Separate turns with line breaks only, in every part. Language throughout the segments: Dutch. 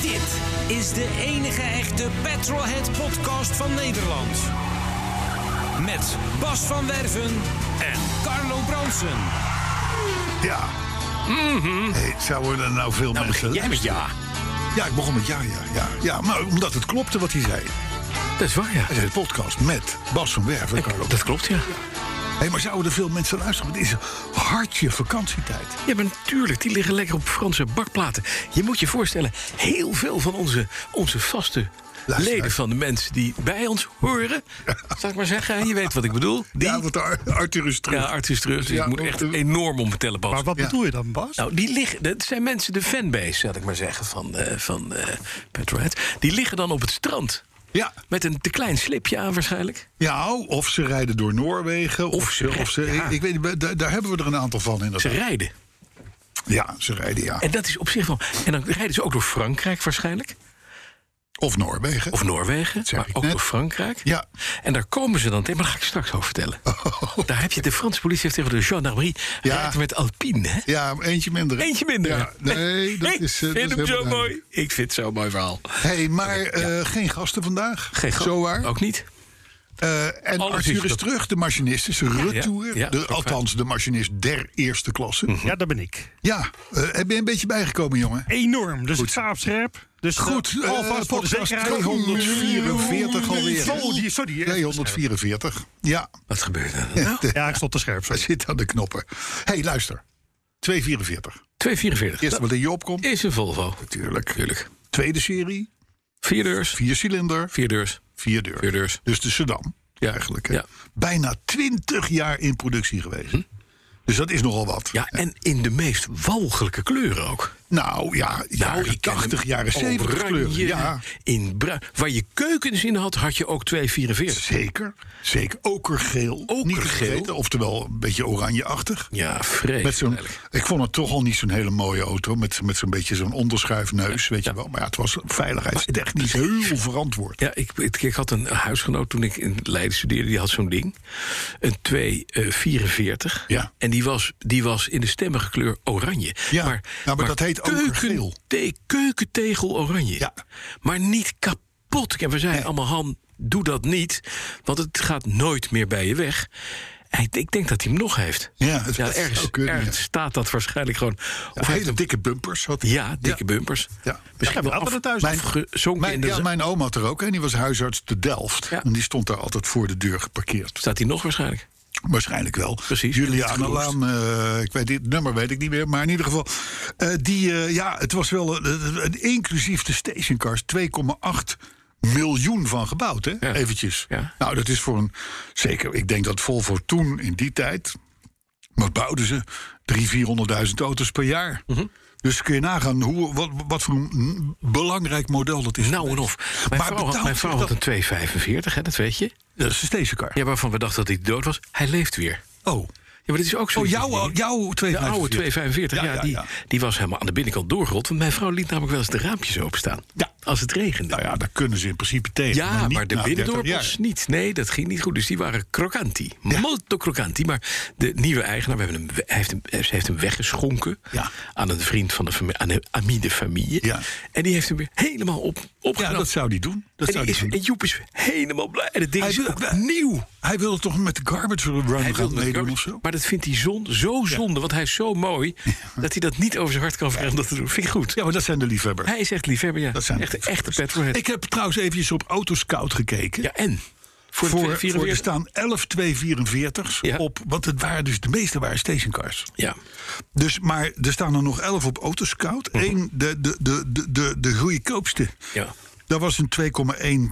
Dit is de enige echte Petrolhead podcast van Nederland. Met Bas van Werven en Carlo Bronsen.
Ja. Hey, zouden er nou veel mensen...
met ja.
Ja, ik begon met ja, ja, ja. Ja, maar omdat het klopte wat hij zei.
Dat is waar, ja.
Hij zei de podcast met Bas van Werven. Carlo.
Dat klopt, ja.
Hey, maar zouden er veel mensen luisteren? Het is hartje vakantietijd.
Ja, maar natuurlijk, die liggen lekker op Franse bakplaten. Je moet je voorstellen, heel veel van onze, onze vaste
Luisteraars.
leden van de mensen die bij ons horen... zal ik maar zeggen, je weet wat ik bedoel. Die,
Ja, want de Ar- Arthur is terug.
ja, arts is terug, dus
Ja,
ik moet
maar-
echt enorm om vertellen, Bas.
Maar wat
Ja.
bedoel je dan, Bas?
Nou, die liggen, dat zijn mensen, de fanbase, zal ik maar zeggen, van, eh van eh Petrolhead. Die liggen dan op het strand.
Ja.
Met een te klein slipje aan waarschijnlijk.
ja, oh, of ze rijden door Noorwegen. Of,
Of ze
Of ze
rijden, ja.
ik, weet, niet, daar, daar hebben we er een aantal van
Ze
inderdaad.
rijden.
Ja, ze rijden, ja.
En dat is op zich wel... En dan rijden ze ook door Frankrijk waarschijnlijk.
Of Noorwegen.
Of Noorwegen,
zeg
maar
ik
ook
net.
door Frankrijk.
Ja. Oh.
En daar komen ze dan tegen, maar daar ga ik straks over vertellen. Daar heb je, de Franse politie heeft tegen de gendarmerie...
Ja.
rijdt met Alpine, hè?
Ja, eentje minder. hè?
Eentje minder.
Ja, nee, dat
ik
is... eh, dat
vind
is
hem zo
helemaal duidelijk.
mooi. Ik vind het zo'n mooi verhaal.
hey, maar eh, geen gasten vandaag.
Geen gat,
Zo waar.
Ook niet.
Eh, en
Alles
Arthur
is
is
dat-
terug, de machinist is retour.
ja, ja,
de,
ook fijn.
althans, de machinist der eerste klasse.
Ja, dat ben ik.
Ja, eh, heb je een beetje bijgekomen, jongen?
Enorm, dus ik sta op scherp. Dus eh,
Goed, eh,
alvast voor de
podcast
zekerheid.
244 alweer.
Oh, die- sorry. hè.
244, ja,
Wat gebeurt er dan nou?
Ja, ik stond te scherp.
hij
sorry.
zit aan de knoppen. Hé, hey, luister. 244.
244.
Eerst
Dat
wat in je opkomt.
is een Volvo.
Natuurlijk.
Tuurlijk.
Tweede serie,
Vier deurs.
vier cilinder,
Vier deurs.
vier deur.
Vier deurs.
Dus de sedan,
Ja,
eigenlijk. hè.
ja. Hm?
Bijna 20 jaar in productie geweest. Dus dat is nogal wat.
Ja, en in de meest walgelijke kleuren ook.
Nou ja, jaren
ik ken
80,
hem.
jaren 70 kleuren.
Oranje,
Ja,
In bruin. Waar je keukens in had, had je ook 244.
zeker. Zeker. Okergeel. Niet te
Okergeel.
vergeten, oftewel een beetje oranjeachtig.
Ja, vreemd.
Met zo'n, ik vond het toch al niet zo'n hele mooie auto. Met, met zo'n beetje zo'n onderschuifneus, weet je wel. Maar ja, het was veiligheidstechnisch heel verantwoord.
Ja, ik, ik, ik had een huisgenoot toen ik in Leiden studeerde, die had zo'n ding. Een 244.
Ja.
En die was, die was in de stemmige kleur oranje.
Ja, nou, maar dat heet ook geel.
te- keukentegel oranje.
Ja.
Maar niet kapot. En we zeiden
Nee.
allemaal, Han, doe dat niet. Want het gaat nooit meer bij je weg. En Ik ik denk dat hij hem nog heeft.
Ja, het zou
ergens,
kunnen, ja.
ergens staat dat waarschijnlijk gewoon.
Of
Of hij heeft
hele
hem-
dikke bumpers had hij.
ja, dikke bumpers.
Ja.
Misschien wel
hadden we dat
af,
thuis
Mijn-
afgezonken in
Mijn,
de
ja, mijn oom had er ook en die was huisarts te Delft.
Ja.
En die stond daar altijd voor de deur geparkeerd.
Staat hij nog waarschijnlijk?
Waarschijnlijk wel.
Precies.
Juliana Laan, eh, ik weet dit nummer weet ik niet meer, maar in ieder geval. eh, die, eh, ja, het was wel een- een- een- inclusief de stationcars 2,8 miljoen van gebouwd, hè?
Ja.
Eventjes.
Ja.
Nou, dat is voor een, zeker, ik denk dat Volvo toen in die tijd, wat bouwden ze? 300.000, 400.000 auto's per jaar.
Mhm.
Dus kun je nagaan hoe, wat, wat voor een belangrijk model dat is.
Nou en of. Mijn
Maar
vrouw, had,
betaalt
mijn
zich
vrouw had
dat-
een 245, hè, dat weet je.
Dat is een stationcar.
Ja, waarvan we dachten dat hij dood was. Hij leeft weer.
Oh.
Ja, maar dit is ook zo.
Oh, jouw, jouw
dus de oude 245, ja, die,
ja.
die was helemaal aan de binnenkant doorgerold. Want mijn vrouw liet namelijk wel eens de raampjes openstaan.
Ja.
Als het regende.
Nou ja, daar kunnen ze in principe tegen.
Ja, maar,
niet
de
na 30
binnendorpels
jaar.
niet. Nee, dat ging niet goed. Dus die waren crocanti. Molto crocanti. Maar de nieuwe eigenaar, we hebben hem, we- hij heeft hem, ze heeft hem weggeschonken...
Ja.
aan een vriend van de familie, aan een amide familie.
Ja.
En die heeft hem weer helemaal op,
Ja,
opgenomen.
dat zou die doen. Dat
en,
zou
die
die
is,
doen.
en Joep is helemaal blij. En het ding
Hij
is
wil-
ook nieuw.
Hij wilde toch met de garbage run
Hij
gaan
wilde
meedoen
het
of
ook,
zo?
maar dat vindt hij zon, zo zonde, want hij is zo mooi... dat hij dat niet over zijn hart kan vergeten om dat te doen. Vind ik goed.
Ja, maar dat zijn de liefhebbers.
Hij is echt liefhebber, ja.
dat zijn de
echt,
liefhebbers.
echte petrolhead.
Ik heb trouwens eventjes op Autoscout gekeken.
ja, en? Voor,
Voor,
de
voor,
244?
er staan 11 244's
Ja.
op. Want het waren dus de meeste waren stationcars.
Ja.
Dus, maar er staan er nog 11 op Autoscout.
Mhm.
Eén, de, de, de, de, de, de goedkoopste.
Ja.
Dat was een 2,1 eh,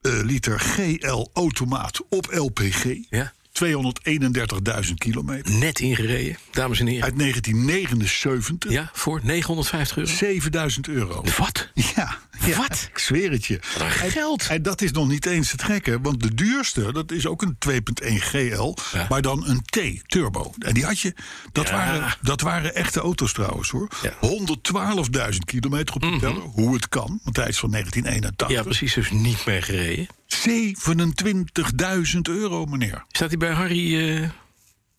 liter GL automaat op LPG.
Ja.
231.000 kilometer.
Net ingereden, dames en heren.
Uit 1979.
Ja, voor 950 euro.
7000 euro.
Wat?
Ja, ja,
Wat?
ik zweer het je.
Wat een geld.
En dat is nog niet eens het gekke, want de duurste, dat is ook een 2.1 GL,
Ja.
maar dan een T turbo. En die had je, dat,
Ja.
waren, dat waren echte auto's trouwens hoor.
Ja. Mhm.
112.000 kilometer op de teller, hoe het kan, want hij is van
Ja,
1981.
precies, dus niet meer gereden.
27.000 euro meneer.
Staat hij bij Harry... eh,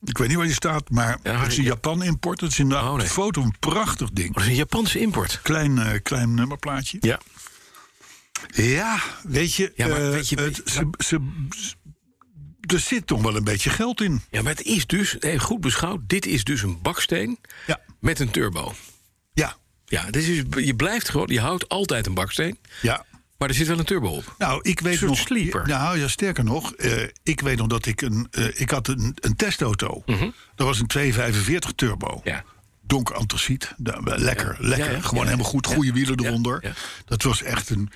Ik weet niet waar die staat, maar
Ja,
het is een
ik-
Japan import. Het is in de
Oh, nee.
foto een prachtig ding.
dat is een Japanse import.
Klein, eh, klein nummerplaatje.
Ja.
Ja, weet je,
Ja, maar
eh,
weet je-
het- ze, ze- ze- er zit toch wel een beetje geld in.
Ja, maar het is dus, eh, goed beschouwd, dit is dus een baksteen
Ja.
met een turbo.
Ja,
Ja, dus is- je blijft gewoon, je houdt altijd een baksteen,
ja.
maar er zit wel een turbo op.
Nou, ik weet
soort
nog.
sleeper.
Nou, ja, sterker nog, eh, ik weet nog dat ik een, eh, ik had een, een testauto. Dat was een 245 turbo.
Mhm. Ja.
Donker antraciet. Nou, wel Lekker,
Ja.
lekker.
Ja, ja.
Gewoon
Ja.
helemaal goed.
Ja.
Goede wielen
Ja.
eronder.
Ja.
Dat was echt een,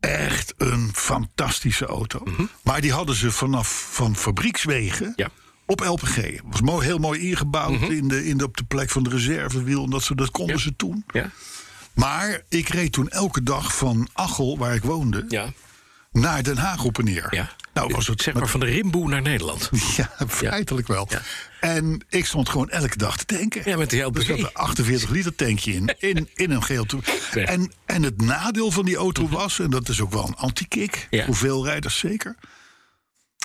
echt een fantastische auto. Maar die hadden ze vanaf van fabriekswegen
Mhm. Ja. Mhm.
op LPG. Was mooi, heel mooi ingebouwd in de, in de, op de plek van de reservewiel. En dat, ze, dat konden
Ja.
ze toen.
Ja?
Maar ik reed toen elke dag van Achel, waar ik woonde,
Ja.
naar Den Haag op en neer.
ja.
Nou was het
Zeg maar van de Rimboe naar Nederland.
Ja, feitelijk wel.
Ja.
En ik stond gewoon elke dag te tanken.
Ja, met de LPG.
Dus we hadden een 48 liter tankje in, in, in een geel toe.
Ja.
En, en het nadeel van die auto was, en dat is ook wel een anti-kick,
Ja.
voor veel rijders zeker.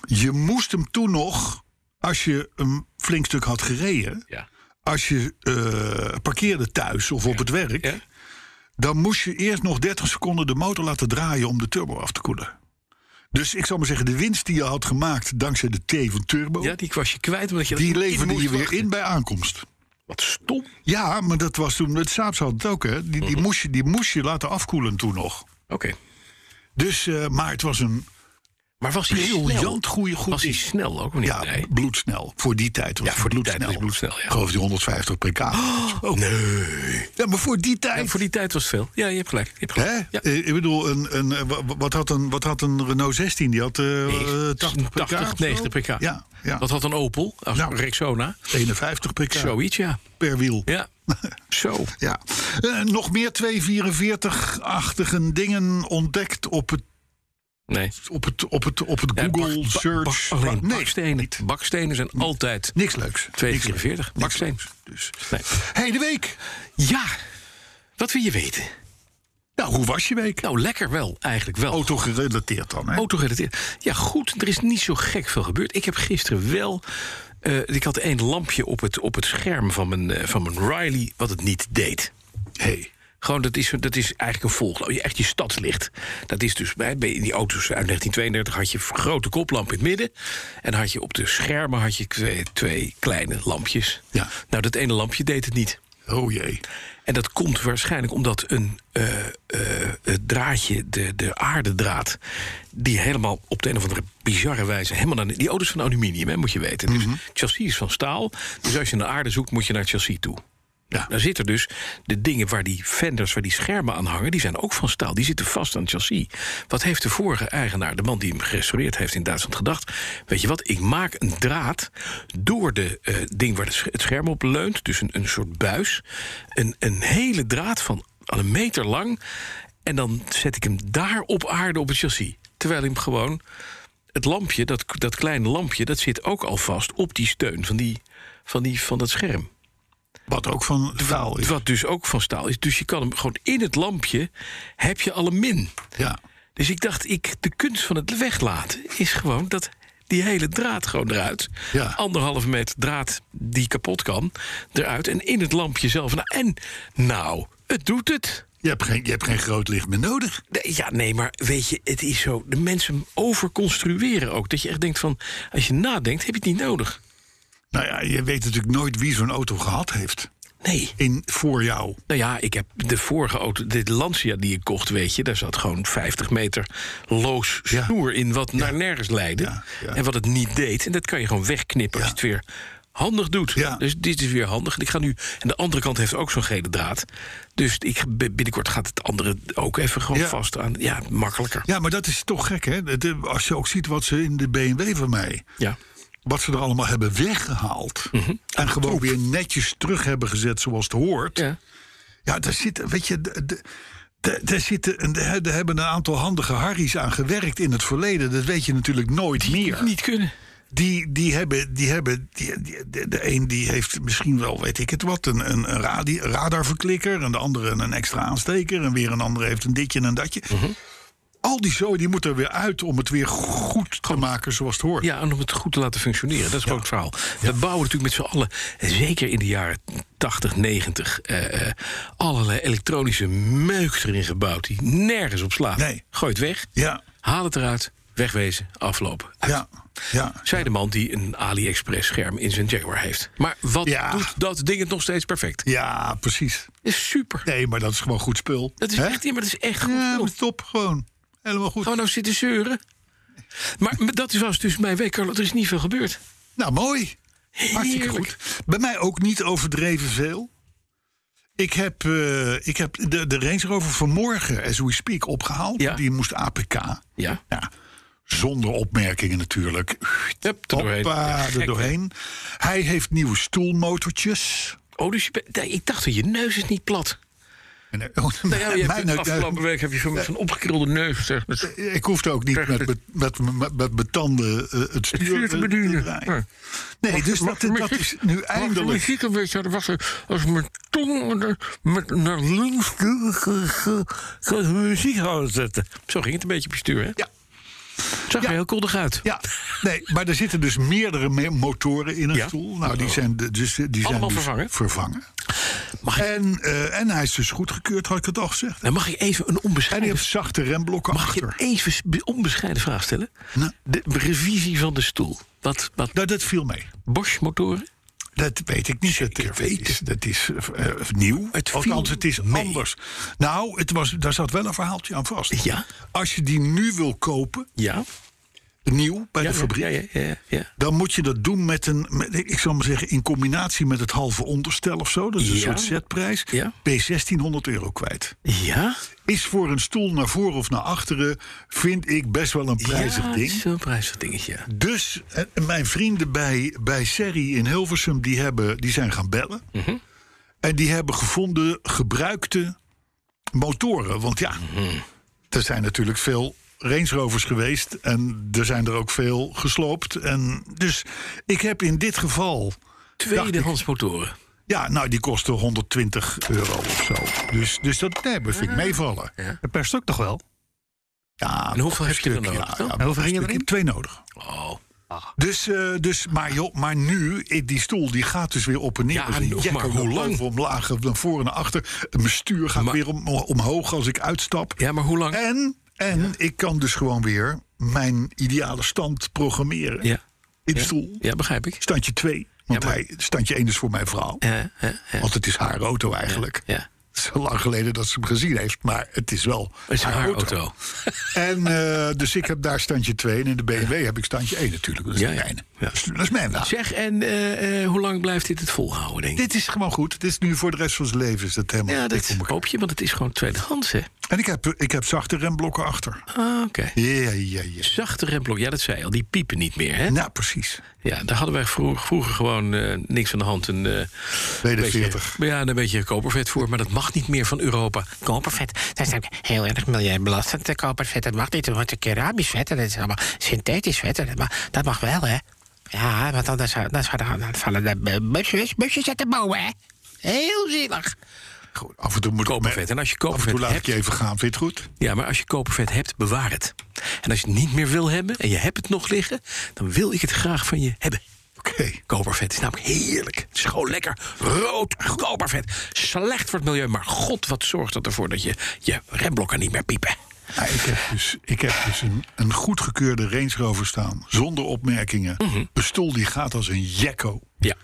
Je moest hem toen nog, als je een flink stuk had gereden,
Ja.
als je eh, parkeerde thuis of op het werk,
Ja.
dan moest je eerst nog 30 seconden de motor laten draaien om de turbo af te koelen. Dus ik zal maar zeggen, de winst die je had gemaakt dankzij de T van Turbo,
ja, die was je kwijt omdat je
die
dat in
leverde
moest
je weer
wachten.
in bij aankomst.
Wat stom.
Ja, maar dat was toen, het Saabs had het ook, hè? Die, die,
Mhm.
moest je, die moest je laten afkoelen toen nog.
Oké.
Dus, eh, maar het was een
Maar was hij snel?
briljant goede goed.
Was hij
ding.
snel ook? of niet?
Ja,
nee.
bloedsnel. Voor die tijd was
Ja,
het
voor die tijd
bloedsnel.
was het bloedsnel, ja.
Ik geloof die 150 pk. Oh, nee. Ja, maar voor die tijd.
Ja, voor die tijd was het veel. Ja, je hebt gelijk. Je hebt
Hè?
gelijk. Ja.
Eh, Ik bedoel, een, een, eh, wa- wa- wat, had een, wat had een Renault 16? Die had eh, eh, 80 pk.
80,
of zo?
90 pk.
Ja, ja.
Dat had een Opel, als
Nou.
Rexona.
51 pk
Zoiets, ja.
per wiel.
Ja. Zo.
Ja. Eh, nog meer 244-achtige dingen ontdekt op het,
Nee.
op het, op het, op het
Ja,
Google
bak- bak-
Search.
bak- alleen
nee,
bakstenen. Bakstenen zijn altijd
niks leuks.
244.
Niks
Baksteen.
leuks, Dus.
Nee.
Hey, de week.
Ja, wat wil je weten?
Nou, hoe was je week? Oh.
Nou, lekker wel, eigenlijk wel.
Auto gerelateerd dan, hè?
Autogerelateerd. Ja, goed, er is niet zo gek veel gebeurd. Ik heb gisteren wel... eh, ik had één lampje op het, op het scherm van mijn, eh, van mijn Riley... wat het niet deed.
Hey.
Gewoon, dat is, dat is eigenlijk een volgloop. Je- Echt je stadslicht. Dat is dus bij, bij die auto's uit 1932 had je een grote koplamp in het midden. En had je op de schermen had je twee, twee kleine lampjes.
Ja.
Nou, dat ene lampje deed het niet.
Oh jee.
En dat komt waarschijnlijk omdat een eh, eh, het draadje, de, de aardedraad, die helemaal op de een of andere bizarre wijze helemaal naar de- die auto's van aluminium, hè, moet je weten. Dus
Mhm.
het chassis is van staal. Dus als je naar aarde zoekt, moet je naar het chassis toe.
Ja.
Daar zitten dus de dingen waar die fenders, waar die schermen aan hangen, die zijn ook van staal. Die zitten vast aan het chassis. Wat heeft de vorige eigenaar, de man die hem gerestaureerd heeft in Duitsland, gedacht? Weet je wat, ik maak een draad door de eh, ding waar de sch- het scherm op leunt, dus een, een soort buis. Een, een hele draad van al een meter lang. En dan zet ik hem daar op aarde op het chassis. Terwijl hij hem gewoon. Het lampje, dat, dat kleine lampje, dat zit ook al vast op die steun van, die, van, die, van dat scherm.
Wat ook van taal is.
Wat dus ook van staal is. Dus je kan hem gewoon in het lampje heb je al een min.
Ja.
Dus ik dacht, ik, de kunst van het weglaten is gewoon dat die hele draad gewoon eruit.
Ja.
Anderhalve meter draad die kapot kan eruit. En in het lampje zelf. Nou, en nou, het doet het.
Je hebt, geen, je hebt geen groot licht meer nodig.
Nee, Ja, nee, maar weet je, het is zo. De mensen overconstrueren ook. Dat je echt denkt van, als je nadenkt, heb je het niet nodig.
Nou ja, je weet natuurlijk nooit wie zo'n auto gehad heeft.
Nee.
In, voor jou.
Nou ja, ik heb de vorige auto, de Lancia die ik kocht, weet je, daar zat gewoon 50 meter loos
Ja.
snoer in, wat naar nergens leidde.
Ja, ja.
En wat het niet deed. En dat kan je gewoon wegknippen als
Ja.
je het weer handig doet.
Ja.
Dus dit is weer handig. En Ik ga nu, en de andere kant heeft ook zo'n gele draad. Dus ik, ga- binnenkort gaat het andere ook even gewoon
Ja.
vast aan. Ja, makkelijker.
Ja, maar dat is toch gek, hè? Dat, eh, Als je ook ziet wat ze in de BMW van mij.
Ja.
wat ze er allemaal hebben weggehaald.
Mhm.
En gewoon weer netjes terug hebben gezet zoals het hoort.
Ja.
Ja, daar zitten, weet je, de- de- de- daar zitten, een- er hebben een aantal handige harries aan gewerkt in het verleden. Dat weet je natuurlijk nooit meer.
Niet kunnen.
Die, die hebben, die hebben die, die- de, de een die heeft misschien wel, weet ik het wat, een, een, een radi- radarverklikker. En de andere een extra aansteker. En weer een andere heeft een ditje en een datje.
Mhm.
Al die zooi die moet er weer uit om het weer goed te maken zoals het hoort.
Ja, en om het goed te laten functioneren. Dat is gewoon het verhaal. We bouwen natuurlijk met z'n allen, zeker in de jaren 80, 90... eh, eh, allerlei elektronische meuk erin gebouwd die nergens op slaat.
Nee.
Gooi het weg,
Ja,
haal het eruit, wegwezen, aflopen.
ja, ja.
Zij de man die een AliExpress-scherm in zijn Jaguar heeft. Maar wat
Ja.
doet dat ding het nog steeds perfect?
Ja, precies.
is super.
Nee, maar dat is gewoon goed spul.
Dat is
Hè?
echt, ja, maar dat is echt goed.
Ja,
spul.
maar top, gewoon. Helemaal goed.
Gaan we nou zitten zeuren? Maar maar dat was dus mijn week, Carlo. Er is niet veel gebeurd.
Nou, mooi. Hartstikke
Heerlijk.
goed. Bij mij ook niet overdreven veel. Ik heb, eh, ik heb de, de Range Rover vanmorgen, as we speak, opgehaald.
Ja.
Die moest APK.
Ja.
Ja, zonder opmerkingen natuurlijk.
Hup, er doorheen.
Hoppa, er
Gek.
doorheen. Hij heeft nieuwe stoelmotortjes.
Oh, dus je bent- nee, ik dacht, dat je neus is niet plat.
En, eh, oh,
Nou ja, je hebt
mijn
de
neus-
afgelopen week heb je zo'n zo'n opgekrulde neus. Zeg, met-
Ik hoefde ook niet met, met, met, met, met betanden eh, het stuur,
stuur te
eh,
bedienen.
draaien.
Ja.
Nee, dus dat, dat is nu
De
eindelijk.
muziek een beetje, dat was er- als mijn tong er met naar links duwde, ge- ge- ge- de muziek houden zetten. Zo ging het een beetje op je stuur, hè?
Ja.
Zag
Ja.
er heel koddig uit.
Ja, nee, maar er zitten dus meerdere me- motoren in een
Ja. Oh.
stoel. Nou, die zijn de- dus, die zijn
Allemaal
dus
vervangen?
vervangen.
Mag ik,
En, eh, en hij is dus goedgekeurd, had ik het al gezegd.
dan mag ik even een
En hij
onbescheiden,
heeft zachte remblokken
mag ik je
achter.
even s- be- onbescheiden vraag stellen?
Nou.
De revisie van de stoel. Wat, wat
Dat, dat viel mee.
Bosch-motoren?
Dat weet ik niet. Dat, dat is, dat is eh, eh, nieuw.
Het viel
Althans, het is
mee.
anders. Nou, het was, daar zat wel een verhaaltje aan vast.
Ja.
Als je die nu wil kopen,
Ja.
nieuw bij
ja,
de fabriek...
Ja, ja, ja, ja.
dan moet je dat doen met een, met- ik zal maar zeggen, in combinatie met het halve onderstel of zo. Dat is een
Ja.
soort setprijs.
Ja.
Ben je 1600 euro kwijt.
Ja?
Is voor een stoel naar voren of naar achteren, vind ik best wel een prijzig
ja, het is
ding.
wel een prijzig dingetje, ja.
Dus eh, mijn vrienden bij, bij Serri in Hilversum, die, hebben, die zijn gaan bellen. En die hebben gevonden gebruikte motoren. Want ja, er zijn natuurlijk veel Range Rovers geweest. En er zijn er ook veel gesloopt. En dus ik heb in dit geval...
Tweedehands motoren.
Ja, nou, die kosten 120 euro of zo. Dus, dus dat nee, dat vind ik meevallen.
Per stuk toch wel?
Ja,
En hoeveel Ah, heb je er
stuk,
nodig dan?
En hoeveel ging je
stuk.
erin?
Ik heb Twee nodig.
Oh.
Ah.
Dus, eh, dus maar, joh, maar nu, eh, die stoel die gaat dus weer op en neer.
Ja,
Dus die
nog
jekker
maar hoe
naar
lang?
boven, Omlaag, eh, naar voren en naar achter. Eh, Mijn stuur gaat
Maar-
weer om, eh, omhoog als ik uitstap.
Ja, maar hoe lang?
En, en ik kan dus gewoon weer mijn ideale stand programmeren.
Ja.
In de stoel.
Ja, begrijp ik.
Standje 2. Want
Ja, maar-
hij, standje 1 is voor mijn vrouw.
Ja, ja, ja.
Want het is haar auto eigenlijk.
ja.
Het is al lang geleden dat ze hem gezien heeft, maar het is wel
Het is haar auto.
en eh, dus ik heb daar standje 2 en in de BMW heb ik standje 1 natuurlijk. Dat is
Ja,
de
ja.
mijne.
Ja.
Dat is- Dat is mijn wagen.
Zeg, en eh, eh, hoe lang blijft dit het volhouden, denk je?
Dit is gewoon goed. Dit is nu voor de rest van zijn leven is dat helemaal
Ja,
goed
dat
voor elkaar.
hoop je, want het is gewoon tweedehands, hè?
En ik heb, ik heb zachte remblokken achter.
Ah, oké.
Ja, ja, ja.
Zachte remblok, ja, dat zei je al, die piepen niet meer, hè?
Nou, precies.
Ja, daar hadden wij vroeg- vroeger gewoon eh, niks aan de hand. Een, eh, beetje,
42.
ja, een beetje kopervet voor, maar dat mag niet meer van Europa.
Kopervet, dat is ook heel erg milieubelastend, eh, kopervet. Dat mag niet, het wordt keramisch vet en dat is allemaal synthetisch vet. En dat, mag, dat mag wel, hè? Ja, want anders, anders vallen- dan vallen de bu- busjes, busjes uit de bomen, hè? Heel zielig.
eh,
Goed, af en toe moet ik
Kopervet. En als je kopervet
Af en toe laat
hebt-
ik je even gaan. Vind je het goed?
Ja, maar als je kopervet hebt, bewaar het. En als je het niet meer wil hebben en je hebt het nog liggen... dan wil ik het graag van je hebben.
Oké.
Kopervet is namelijk heerlijk. Het is gewoon lekker rood kopervet. Slecht voor het milieu, maar god, wat zorgt dat ervoor... dat je je remblokken niet meer piepen.
Nou, ik heb dus, ik heb dus een, een goedgekeurde Range Rover staan. Zonder opmerkingen.
Mhm.
Een stoel die gaat als een jekko.
Ja.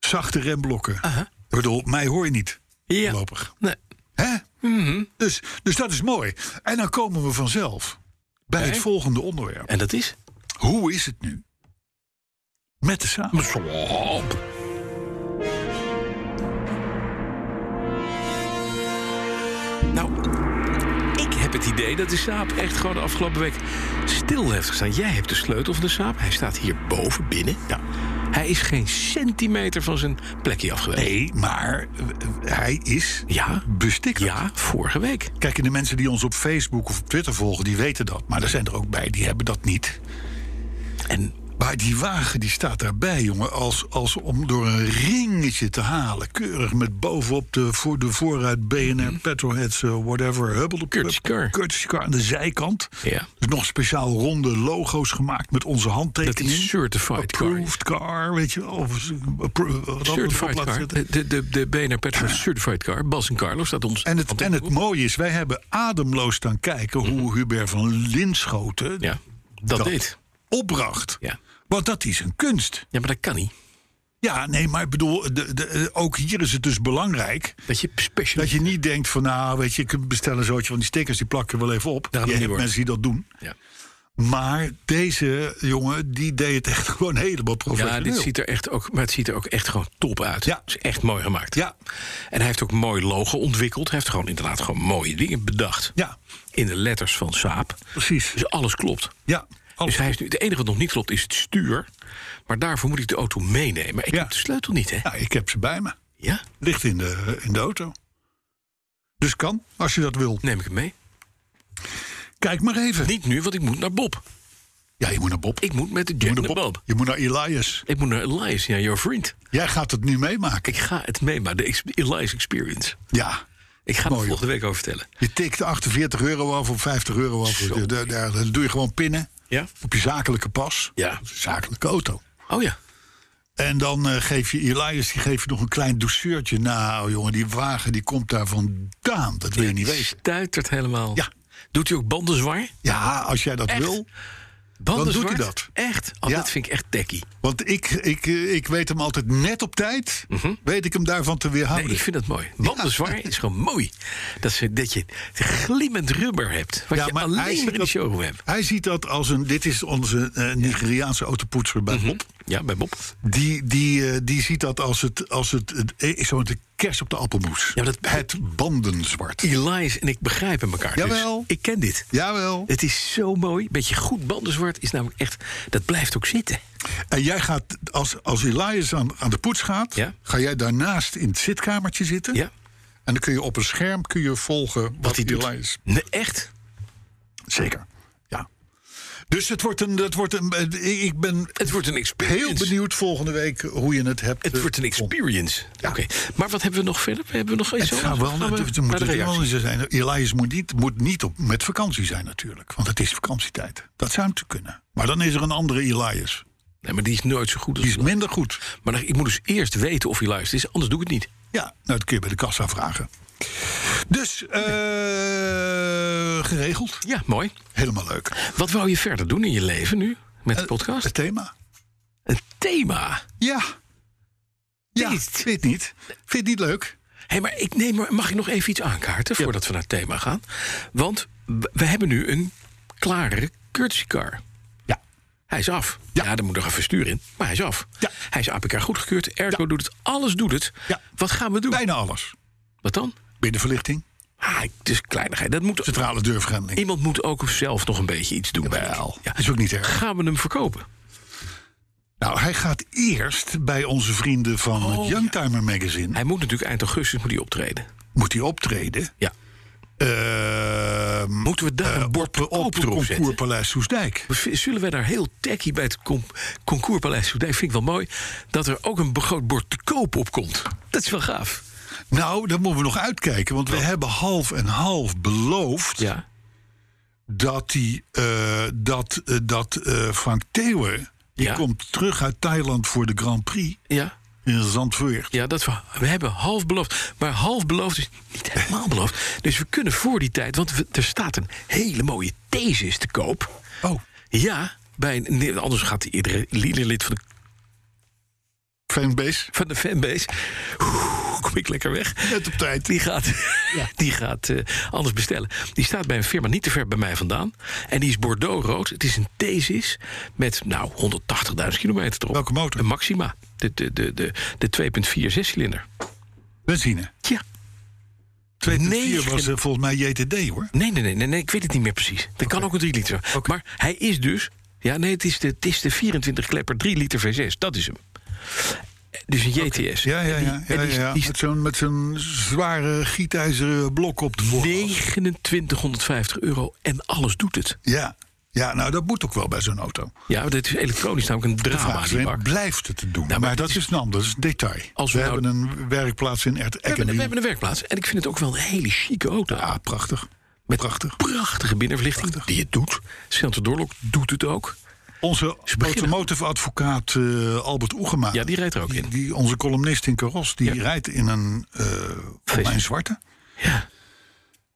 Zachte remblokken. Ik bedoel, mij hoor je niet.
Ja.
Voorlopig.
Nee.
Hè? Dus, dus dat is mooi. En dan komen we vanzelf bij het volgende onderwerp.
En dat is?
Hoe is het nu met de samen?
Nou, ik heb het idee dat de Saab echt gewoon de afgelopen week stil heeft gestaan. Jij hebt de sleutel van de Saab. Hij staat hier boven, binnen. Ja. Hij is geen centimeter van zijn plekje afgewezen.
Nee, maar eh, hij is
Ja.
bestikt.
Ja, vorige week.
Kijk, en de mensen die ons op Facebook of op Twitter volgen, die weten dat. Maar er zijn er ook bij, die hebben dat niet.
En
Maar die wagen die staat daarbij, jongen, als, als om door een ringetje te halen. Keurig met bovenop de, voor de voorruit
Mhm.
BNR, petrolheads, eh, whatever, hubbelde
Kurtjeker.
Kurtjeker aan de zijkant.
Ja.
Dus nog speciaal ronde logo's gemaakt met onze
dat
handtekening.
is certified car.
Approved car, weet je wel. Of, eh, appro- wat anders op
Certified
laten
car. Eh,
zetten.
De, de, de, de BNR Petrol Certified car. Bas en Carlos staat ons.
En het, en het mooie is, wij hebben ademloos staan kijken hoe Hubert van Linschoten
Mhm. Ja, dat,
dat
deed.
opbracht.
Ja.
Want dat is een kunst.
ja, maar dat kan niet.
Ja, nee, maar ik bedoel, de, de, eh, ook hier is het dus belangrijk
Dat je special.
dat je niet denkt van, nou, weet je, ik bestel een zootje van die stickers, die plakken wel even op.
Dat gaat
je
niet
hebt
worden.
mensen die dat doen.
Ja.
Maar deze jongen, die deed het echt gewoon helemaal
Ja,
professioneel.
dit ziet er echt ook, maar het ziet er ook echt gewoon top uit.
Ja.
Het is echt mooi gemaakt.
Ja.
En hij heeft ook een mooi logo ontwikkeld. Hij heeft gewoon inderdaad gewoon mooie dingen bedacht.
Ja,
In de letters van Saab.
precies.
Dus alles klopt.
Ja,
Dus
alles.
hij is nu, het enige wat nog niet klopt is het stuur. Maar daarvoor moet ik de auto meenemen. Maar ik
Ja.
heb de sleutel niet, hè?
Nou, ik heb ze bij me.
Ja?
Ligt in de, in de auto. Dus kan, als je dat wil.
Neem ik hem mee?
Kijk maar even.
Niet nu, want ik moet naar Bob.
Ja, je moet naar Bob.
Ik moet met de
Je
jet
moet
naar
naar, Bob.
Bob.
Je moet naar Elias.
Ik moet naar Elias, ja, jouw vriend.
Jij gaat het nu meemaken.
Ik ga het meemaken, de ex- Elias Experience.
Ja.
Ik ga
Mooi,
er volgende week over vertellen.
Je tikt 48 euro af of 50 euro af.
Zo.
Daar, daar- daar- dat doe je gewoon pinnen
Ja?
op je zakelijke pas.
Ja.
Zakelijke auto.
Oh ja.
En dan eh, geef je Elias die geef je nog een klein douceurtje. Nou, jongen, die wagen die komt daar vandaan. Dat wil je niet
Die
weten.
stuitert helemaal.
Ja.
Doet hij ook banden zwaar?
Ja, als jij dat
Echt?
wil.
Banden
Dan doet
zwart?
hij dat.
Echt? Oh,
Ja. Oh,
Dat vind ik echt dekkie.
Want ik, ik, eh, ik weet hem altijd net op tijd. Weet ik hem daarvan te
Mhm. Nee,
weerhouden.
ik vind dat mooi. Banden
Ja.
zwaar is gewoon mooi. Dat, ze, dat je glimmend rubber hebt. Wat
Ja,
je
maar hij
alleen
ziet
maar in de
dat-
showroom hebt.
Hij ziet dat als een. Dit is onze eh, Nigeriaanse autopoetser bij
Mhm.
Bob.
Ja, bij Bob.
Die, die, eh, die ziet dat als het, als het, het eh, is zo'n de kers op de appelmoes.
Ja, maar dat-
Het bandenzwart.
Elias en ik begrijpen elkaar. dus
Jawel.
ik ken dit.
Jawel.
Het is zo mooi. Beetje goed bandenzwart is namelijk echt... Dat blijft ook zitten.
En jij gaat, als, als Elias aan, aan de poets gaat,
Ja.
ga jij daarnaast in het zitkamertje zitten.
Ja.
En dan kun je op een scherm kun je volgen wat,
Wat hij doet.
Elias.
Nee, echt?
Zeker. Ja. Dus het wordt een. Het wordt een eh, ik ben
Het wordt een experience.
heel benieuwd volgende week hoe je het hebt.
Het
eh,
wordt een
gevonden.
experience. Oké, maar wat hebben we nog verder? Hebben we nog iets
Het gaat wel,
Gaan we
het, het
naar
moet
de
het
reactie?
wel zijn. Nou, Elias moet niet, moet niet op, met vakantie zijn natuurlijk. Want het is vakantietijd. Dat zou hem te kunnen. Maar dan is er een andere Elias.
Nee, maar die is nooit zo goed als
Die is minder goed.
Maar dan- ik moet dus eerst weten of hij luistert is, anders doe ik het niet.
Ja, nou, dat kun je bij de kassa vragen. Dus, eh, geregeld.
Ja, mooi.
Helemaal leuk.
Wat wou je verder doen in je leven nu met de podcast?
Eh, Het thema?
Een thema.
Ja. Ja,
Dit.
vind je het niet? Vind je het niet leuk?
Hé, maar ik neem maar, mag ik nog even iets aankaarten voordat we naar het thema gaan? Want w- we hebben nu een klare courtesy car.
Ja.
Hij is af.
Ja.
daar moet nog even stuur in, maar hij is af.
Ja.
Hij is APK goedgekeurd, ergo doet het, alles doet het.
Ja.
Wat gaan we doen?
Bijna alles.
Wat dan?
Binnenverlichting,
Ah, het is kleinigheid. Dat moet,
centrale deurvergrendeling.
iemand moet ook zelf nog een beetje iets doen. denk ik.
Jawel,
Ja.
dat is ook niet erg.
Gaan we hem verkopen?
Nou, hij gaat eerst bij onze vrienden van het Youngtimer Magazine.
Oh, Hij moet natuurlijk eind augustus moet hij optreden.
Moet hij optreden?
Ja.
Ehm,
Moeten we daar
eh,
een bord
op, op het
verkoper op zetten?
Concourspaleis Soesdijk.
V- Zullen wij daar heel techie bij het com- concourspaleis doen? Ik vind ik wel mooi dat er ook een be- groot bord te koop op komt. Dat is wel gaaf.
Nou, daar moeten we nog uitkijken. Want we hebben half en half beloofd
Ja.
dat, die, eh, dat, eh, dat eh, Frank Theeuwen... die
Ja.
komt terug uit Thailand voor de Grand Prix
Ja.
in Zandvoort.
Ja, dat we, we hebben half beloofd. Maar half beloofd is niet helemaal beloofd. Dus we kunnen voor die tijd, want we- er staat een hele mooie thesis te koop.
Oh,
Ja, bij een, nee, anders gaat iedere lid van de
fanbase.
van de fanbase. Oeh, kom ik lekker weg.
Net op tijd.
Die gaat, die gaat eh, anders bestellen. Die staat bij een firma niet te ver bij mij vandaan. En die is Bordeaux-rood. Het is een thesis met nou, 180.000 kilometer erop.
Welke motor?
Een Maxima. De, de, de, de, de 2,4 zescilinder.
Benzine.
Ja.
2.4 was eh, volgens mij JTD hoor.
Nee, nee, nee, nee, nee, ik weet het niet meer precies. Dat kan ook een 3 liter. Maar hij is dus. Ja, nee, het is de, het is de 24 klepper 3 liter V6. Dat is hem. Eh, Dus een JTS.
Ja, ja, ja. ja,
En die-
ja, ja.
die is-
Met zo'n met zo'n zware gietijzeren blok op de voorkant.
2950 euro en alles doet het.
Ja. ja, nou dat moet ook wel bij zo'n auto.
Ja, dit is elektronisch namelijk een
De vraag
drama,
is
die
alleen,
bak.
blijft het te doen?
maar
maar,
het
dat
is-
is een ander, dat is een detail.
Als we
we
nou-
hebben een werkplaats in Ert
We hebben, we hebben
Eckendie.
een werkplaats en ik vind het ook wel een hele chique auto.
Ah, prachtig.
met
prachtig.
prachtige binnenverlichting die het doet. Central Doorlok doet het ook.
Onze
Ze beginnen.
automotive-advocaat eh, Albert Oegema.
Ja, die rijdt er ook in.
Die, onze columnist in Karos, die
Ja.
rijdt in een, eh
Feestje.
een zwarte.
Ja,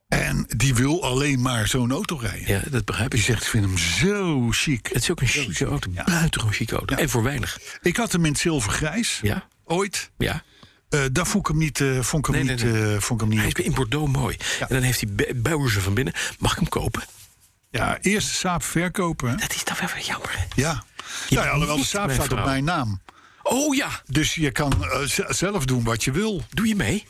En die wil alleen maar zo'n auto rijden.
ja dat begrijp
Die
Dus ik.
zegt, ik vind hem zo chic.
Het is ook een chique auto, buitengewoon chique auto. En voor weinig.
Ik had hem in het zilvergrijs,
Ja,
ooit.
ja.
Eh, daar vond ik hem niet... eh, vond ik hem
Nee,
niet,
nee,
eh, vond ik hem
Hij
niet
is in Bordeaux mooi. En dan heeft hij bu- buizen van binnen. Mag ik hem kopen?
ja, eerst de Saab verkopen. hè?
Dat is toch wel weer jammer. hè?
Ja. Nou ja, alhoewel de
niet
Saab
mijn
staat op
vrouw.
mijn naam.
Oh ja,
Dus je kan eh, z- zelf doen wat je wil.
doe je mee?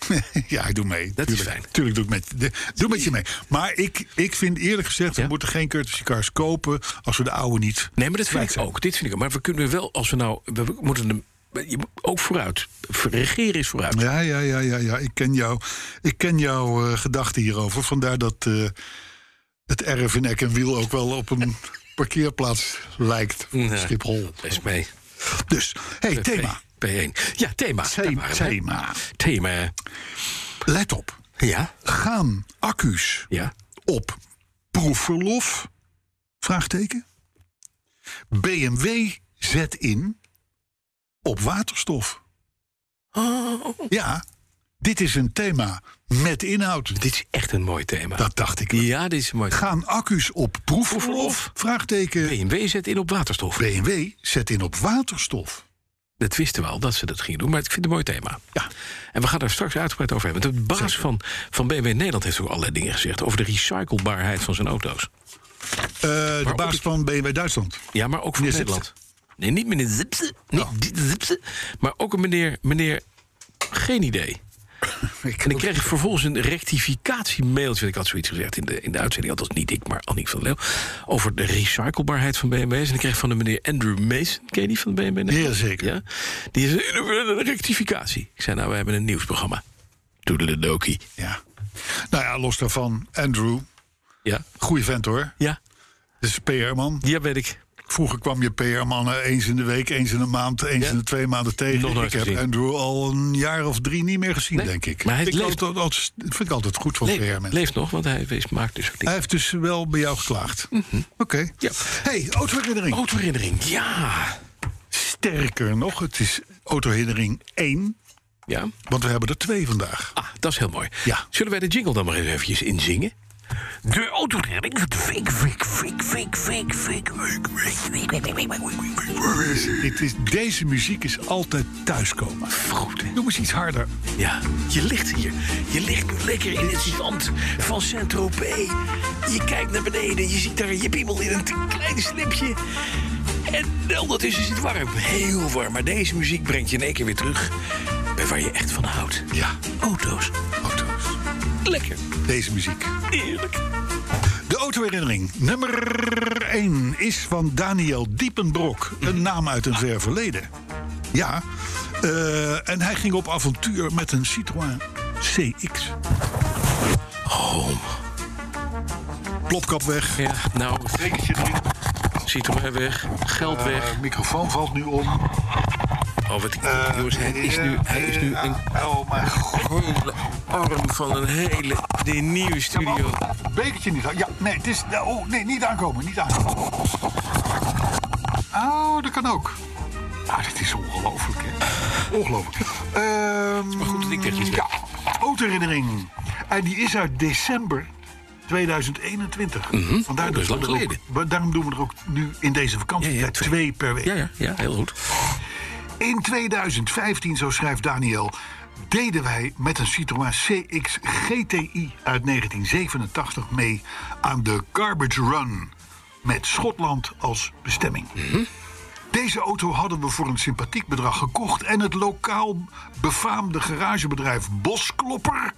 ja, ik doe mee.
Dat is
tuurlijk,
fijn.
Tuurlijk doe ik met, de- doe met je mee. Maar ik, ik vind eerlijk gezegd,
Ja?
we moeten geen courtesy cars kopen als we de oude niet.
Nee, maar dat vind
Kwijt
ik
zijn.
ook. Dit vind ik ook. Maar we kunnen wel, als we nou... We we moeten hem je moet ook vooruit. Regeren is vooruit.
Ja, ja, ja, ja, ja. Ik ken, jou, ik ken jouw eh, gedachten hierover. Vandaar dat eh, het erf in Eck en Wiel ook wel op een parkeerplaats lijkt. van
Nee.
Schiphol.
Best mee.
Dus, hey,
Eh,
thema.
P- P1. Ja, thema. Daar
Thema.
waren we.
Thema.
Thema.
Let op.
Ja,
Gaan accu's
ja.
op proefverlof? Vraagteken. BMW zet in op waterstof.
Oh,
Ja, dit is een thema met inhoud.
dit is echt een mooi thema.
Dat dacht ik.
Ja, dit is een mooi thema.
Gaan accu's op proefverlof?
Proefverlof?
Vraagteken.
BMW zet in op waterstof.
BMW zet in op waterstof.
Dat wisten we al, dat ze dat gingen doen. Maar ik vind het een mooi thema.
Ja.
En we gaan daar straks uitgebreid over hebben. Want de baas van, van BMW Nederland heeft ook allerlei dingen gezegd... over de recyclebaarheid van zijn auto's.
Eh, de baas van BMW Duitsland.
Ja, maar ook van
Meneer
Nederland. Nee, niet meneer Zipse. Niet die Zipse. Maar ook een meneer... meneer geen idee. En ik kreeg vervolgens een rectificatiemailtje. Ik had zoiets gezegd in de, in de uitzending. Althans niet ik, maar Annie van Leeuw. Over de recyclebaarheid van BMW's. En ik kreeg van de meneer Andrew Mason. Ken je die van de BMW?
Jazeker.
Ja? Die is een rectificatie. Ik zei, nou, we hebben een nieuwsprogramma. Toedeledokie.
Ja. Nou ja, los daarvan. Andrew,
Ja?
goeie vent hoor.
Ja?
Dit is PR-man.
Ja, weet ik.
Vroeger kwam je PR-mannen eens in de week, eens in de maand, eens
Ja.
in de twee maanden tegen.
Nog nooit
ik heb
gezien.
Andrew al een jaar of drie niet meer gezien,
Nee,
denk ik.
maar hij
ik
leeft-
altijd- altijd- vind ik altijd goed van
Le-
PR-mensen.
leeft nog, want hij is- maakt dus ook
Hij
dingen.
heeft dus wel bij jou geklaagd. Oké.
Mhm. Ja. Oh.
Hey, autoherinnering.
Autoherinnering, ja.
Sterker nog, het is autoherinnering 1,
Ja?
want we hebben er twee vandaag.
Ah, dat is heel mooi.
Ja.
Zullen wij de jingle dan maar eens eventjes inzingen? De autoredding. Fik, fik, fik, fik, fik, fik.
Het is, deze muziek is altijd thuiskomen.
Goed, hè?
Doe eens iets harder.
Ja, je ligt hier. Je ligt lekker in het zand van Saint-Tropez. Je kijkt naar beneden. Je ziet daar je piemel in een te klein slipje. En wel, dat is is het warm. Heel warm. Maar deze muziek brengt je in één keer weer terug bij waar je echt van houdt.
Ja,
Auto's.
auto's.
Lekker.
Deze muziek.
Eerlijk.
De autoherinnering nummer 1 is van Daniel Diepenbrok. Een naam uit een ver verleden. Ja, eh, en hij ging op avontuur met een Citroën CX.
Oh,
Plopkap weg,
ja. Nou,
dekentje erin,
Citroën weg, geld weg.
eh, microfoon valt nu om. Eh,
Oh, wat ik, jongens, hij is nu, hij is nu een
Oh mijn god,
hele arm van een hele de nieuwe studio.
Oh, bekertje niet. aan- Ja, nee, het is, oh, nee, niet aankomen, niet aankomen. Oh, dat kan ook. Ah, dit is ongelooflijk, hè? Ongelooflijk. Ehm,
Maar goed dat ik tegen iets
Ja, autoherinnering. En die is uit december 2021. Vandaar
Oh, dat is
we
lang
er ook-
geleden.
we- daarom doen we er ook nu in deze vakantie
Ja, ja,
twee.
twee.
per week.
Ja, ja, ja, heel goed.
In 2015, zo schrijft Daniel, deden wij met een Citroën CX GTI uit 1987 mee aan de Garbage Run. Met Schotland als bestemming. Deze auto hadden we voor een sympathiek bedrag gekocht... en het lokaal befaamde garagebedrijf Bosklopper...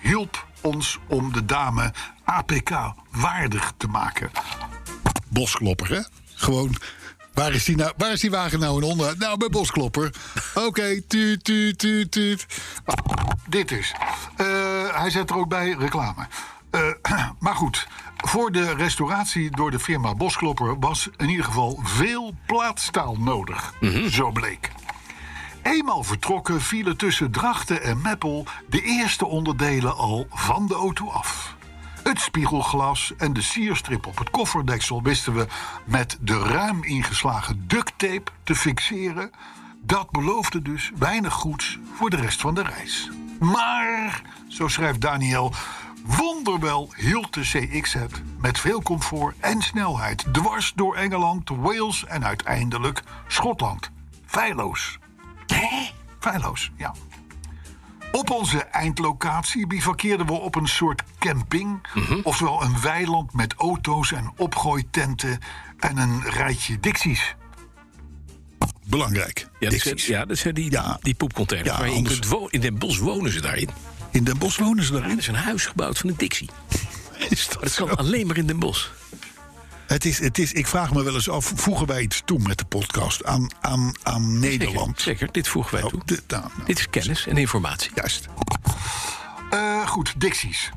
hielp ons om de dame APK waardig te maken. Bosklopper, hè? Gewoon... Waar is, die nou, waar is die wagen nou in onderhoud? Nou, bij Bosklopper. Oké, tuut, tuut, tuut, tuut. Dit is. Eh, hij zet er ook bij reclame. Eh, maar goed, voor de restauratie door de firma Bosklopper... was in ieder geval veel plaatstaal nodig, zo bleek. Eenmaal vertrokken vielen tussen Drachten en Meppel... de eerste onderdelen al van de auto af. Het spiegelglas en de sierstrip op het kofferdeksel wisten we met de ruim ingeslagen duct tape te fixeren. Dat beloofde dus weinig goeds voor de rest van de reis. Maar, zo schrijft Daniel, wonderwel hield de CX het met veel comfort en snelheid dwars door Engeland, Wales en uiteindelijk Schotland. Feilloos. Feilloos, ja. Op onze eindlocatie bivakkeerden we op een soort camping.
Mhm.
Ofwel een weiland met auto's en opgooitenten en een rijtje Dixies. Belangrijk.
Ja, dat zijn,
Dixies.
ja, dat zijn die,
Ja.
die poepcontainers.
Ja,
waar je in,
anders-
kunt wo- in Den Bosch wonen ze daarin.
In Den Bosch wonen ze
Er
daarin.
is een huis gebouwd van de Dixie.
Is dat
Maar dat
zo?
kan alleen maar in Den Bosch.
Het is, het is, ik vraag me wel eens af, voegen wij iets toe met de podcast aan, aan, aan Nederland?
Zeker, zeker, dit voegen wij toe.
Oh, dit- nou, nou,
Dit is kennis en informatie.
Juist. Eh, goed, Dixies.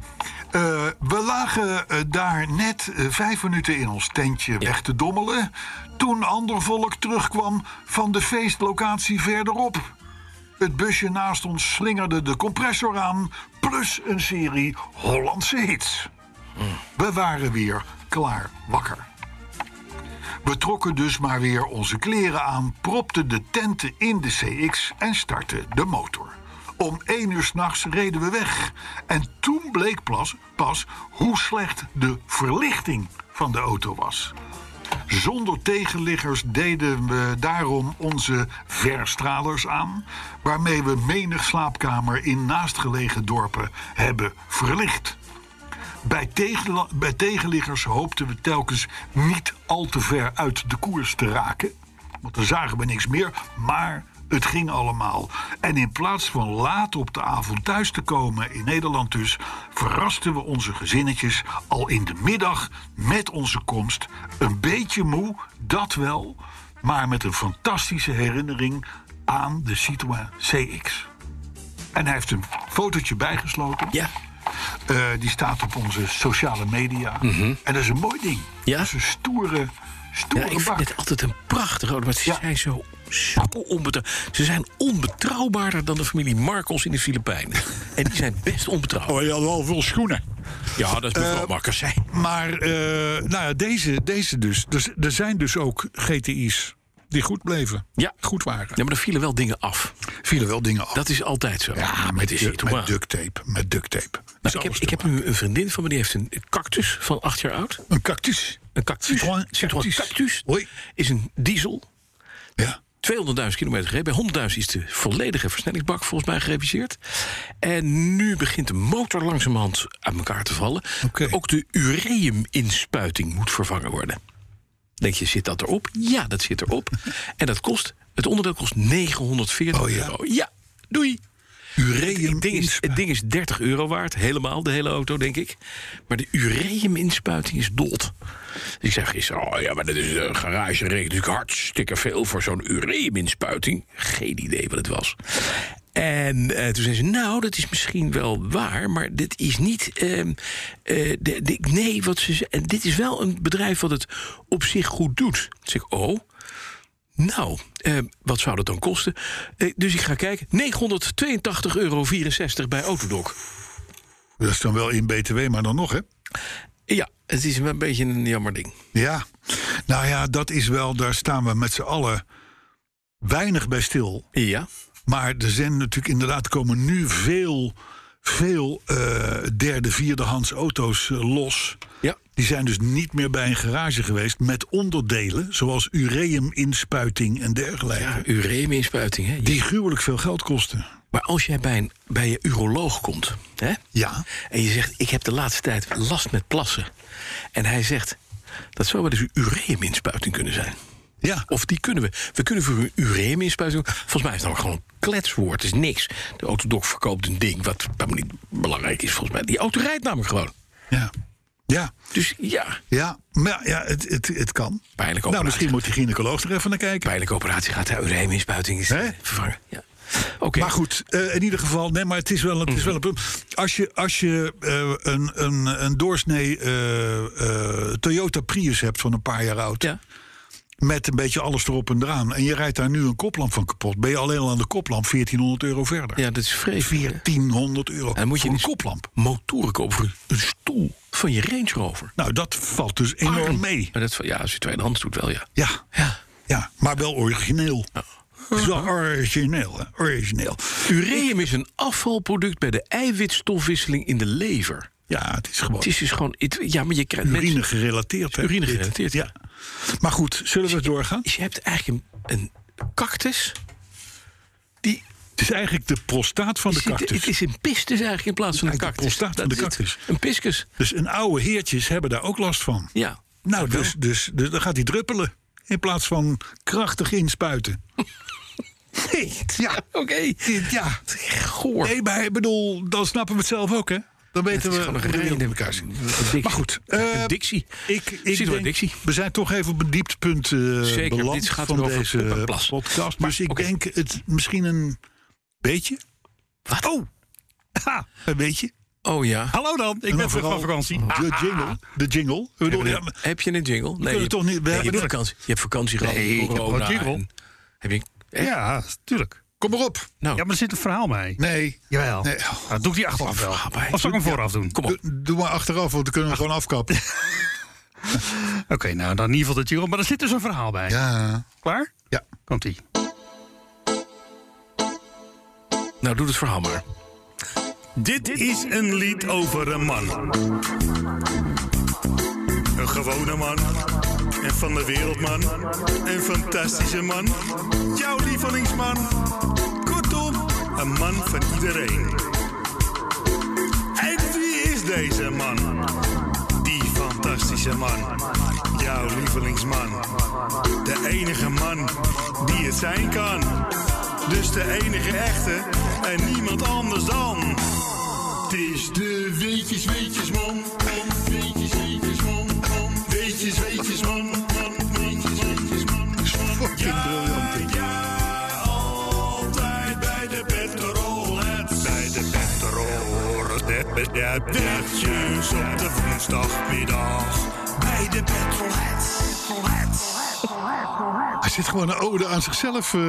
Eh, we lagen eh, daar net eh, vijf minuten in ons tentje weg te dommelen. Toen ander volk terugkwam van de feestlocatie verderop. Het busje naast ons slingerde de compressor aan. Plus een serie Hollandse hits. We waren weer klaar wakker. We trokken dus maar weer onze kleren aan, propten de tenten in de CX en startten de motor. Om één uur s'nachts reden we weg. En toen bleek plas- pas hoe slecht de verlichting van de auto was. Zonder tegenliggers deden we daarom onze verstralers aan... waarmee we menig slaapkamer in naastgelegen dorpen hebben verlicht. Bij, tegenla- bij tegenliggers hoopten we telkens niet al te ver uit de koers te raken. Want dan zagen we niks meer, maar het ging allemaal. En in plaats van laat op de avond thuis te komen in Nederland dus... verrasten we onze gezinnetjes al in de middag met onze komst. Een beetje moe, dat wel, maar met een fantastische herinnering aan de Citroën CX. En hij heeft een fotootje bijgesloten.
Ja,
Eh, die staat op onze sociale media. En dat is een mooi ding.
Mhm. Ja?
Dat is een stoere,
ja
stoere
ik vind
bak.
dit altijd een prachtig auto. Maar ze
Ja.
zijn zo, zo onbetrouwbaar. Ze zijn onbetrouwbaarder dan de familie Marcos in de Filipijnen. En die zijn best onbetrouwbaar. Eh,
Oh, je had wel veel schoenen.
Ja, dat is mevrouw Marcassin.
Maar eh, nou ja, deze, deze dus. dus. Er zijn dus ook GTI's die goed bleven.
Ja.
Goed waren.
Ja, maar er vielen wel dingen af.
Vielen wel dingen af.
Dat is altijd zo.
ja, met,
de
du-
Citroën.
met duct tape. Met duct tape. Is
Nou, ik, heb,
alles
ik
te
heb nu een vriendin van me, die heeft een cactus van acht jaar oud.
maken. Een cactus.
Een cactus.
Citroën
Citroën
cactus.
cactus.
Hoi.
Is een diesel.
Ja.
200.000 kilometer gereden. Bij 100.000 is de volledige versnellingsbak volgens mij gereviseerd. En nu begint de motor langzamerhand uit elkaar te vallen.
Oké.
Ook de ureuminspuiting moet vervangen worden. Denk je, zit dat erop? Ja, dat zit erop. en dat kost, het onderdeel kost 940
Oh ja.
euro. Ja, doei.
Ureum
Het ding, is, het ding is 30 euro waard, helemaal, de hele auto, denk ik. Maar de ureuminspuiting is dood. Dus ik zeg gisteren, oh ja, maar dat is een garage rekent natuurlijk hartstikke veel... voor zo'n ureuminspuiting. Geen idee wat het was. En eh, toen zei ze, nou, dat is misschien wel waar... maar dit is niet... ehm, eh, de, de- nee, wat ze, ze- en dit is wel een bedrijf wat het op zich goed doet. Toen zeg ik, oh... Nou, eh, wat zou dat dan kosten? Eh, dus ik ga kijken. 982,64 euro bij Autodoc.
Dat is dan wel in BTW, maar dan nog, hè?
Ja, het is wel een beetje een jammer ding.
Ja, nou ja, dat is wel, daar staan we met z'n allen weinig bij stil.
Ja,
Maar er zijn natuurlijk inderdaad komen nu veel, veel eh, derde, vierdehands auto's eh, los.
ja.
Die zijn dus niet meer bij een garage geweest met onderdelen zoals ureuminspuiting en dergelijke.
ja ureuminspuiting, hè?
Die gruwelijk veel geld kosten.
Maar als jij bij, een, bij je uroloog komt, hè?
Ja.
En je zegt, ik heb de laatste tijd last met plassen. En hij zegt, dat zou wel eens een ureuminspuiting kunnen zijn.
Ja.
Of die kunnen we. We kunnen voor een ureum inspuiten. Volgens mij is het ook gewoon een kletswoord. Het is niks. De autodoc verkoopt een ding wat helemaal niet belangrijk is volgens mij. Die auto rijdt namelijk gewoon.
Ja. Ja,
Dus ja,
ja, maar ja, het, het, het kan.
pijnlijke operatie.
Nou, misschien moet die gynaecoloog er even naar kijken.
Pijnlijke operatie gaat de ureum inspuiting is
Hè?
vervangen. Ja. Oké. Mhm.
Maar goed, eh, in ieder geval, nee, maar het is wel, een- het is wel een punt. Als je, als je eh, een, een, een doorsnee eh, eh, Toyota Prius hebt van een paar jaar oud,
Ja.
met een beetje alles erop en eraan, en je rijdt daar nu een koplamp van kapot, ben je alleen al aan de koplamp 1400 euro verder.
ja, dat is vreselijk.
1400 euro
En moet je
voor een
niet-
koplamp.
Motoren kopen voor een stoel van je Range Rover.
Nou, dat valt dus enorm
Arm.
mee.
Maar dat, ja, als je tweedehands doet wel, ja.
Ja,
Ja.
ja, maar wel origineel.
Oh.
Zo origineel, hè, origineel.
Ureum is een afvalproduct bij de eiwitstofwisseling in de lever.
Ja, het is gewoon
Het is dus gewoon... het- ja, maar je krijgt mensen-
urine gerelateerd. hè,
Urine
dit.
gerelateerd,
Ja. Maar goed, zullen we doorgaan?
Dus je hebt eigenlijk een, een cactus. Die,
Het is eigenlijk de prostaat van de
zit-
cactus.
Het is een pistus eigenlijk in plaats van een
Eigenlijk de
cactus.
prostaat van
Dat
de
is
cactus.
Een piscus,
Dus een oude heertjes hebben daar ook last van.
ja.
Nou, dus, dus, dus dan gaat hij druppelen in plaats van krachtig inspuiten. Nee, ja,
Oké.
dit- ja.
Goor.
Nee, maar ik bedoel, dan snappen we het zelf ook, hè? Dan weten
Het is
we
gewoon een
hoe de wereld
reine-
in elkaar zit.
dictie.
Maar goed,
Een
eh,
dictie.
Ik, ik
Zit wel
denk-
een dictie.
We zijn toch even op een dieptepunt eh
Zeker,
beland
dit gaat
van
erover poep en
deze
plas.
podcast.
Maar,
dus ik
oké.
denk het misschien een beetje.
Wat?
Oh, ha, een beetje.
Oh ja.
Hallo dan, ik ben terug van vakantie.
Ah,
De jingle. De jingle. Ik bedoel, ja, maar-
Heb je een jingle? Nee,
kunnen
je-
toch niet- we
nee, je,
hebben
hebt
het-
vakantie, je hebt vakantie gehad.
Nee, ik heb
corona
gewoon jingle.
en- Heb je... eh,
Ah, Ja, tuurlijk.
kom maar op.
Nou,
Ja, maar er zit een verhaal mee.
Nee,
Jawel.
Nee.
Nou, doe ik die achteraf wel.
verhaal bij.
Of zal ik hem vooraf doen?
kom op.
doe, doe maar achteraf, want we kunnen hem gewoon afkappen.
Oké, nou dan in ieder geval de jingle. Maar er zit dus een verhaal bij.
Ja.
Klaar?
Ja.
Komt-ie.
Nou, doe het verhaal maar.
Dit is een lied over een man. Een gewone man. En van de wereldman. Een fantastische man. Jouw lievelingsman. Kortom, een man van iedereen. En wie is deze man? Die fantastische man. Jouw lievelingsman. De enige man die het zijn kan. Dus de enige echte en niemand anders dan. Het is de weetjes, weetjes, man, man. Weetjes, weetjes, man, man. Weetjes, weetjes, man, man. Weetjes, weetjes, man, man. Ja, ja, altijd bij de petrolheads. Bij de petrolheads. Weetjes op de woensdagmiddag. Bij de petrolheads.
Hij zit gewoon een ode aan zichzelf eh,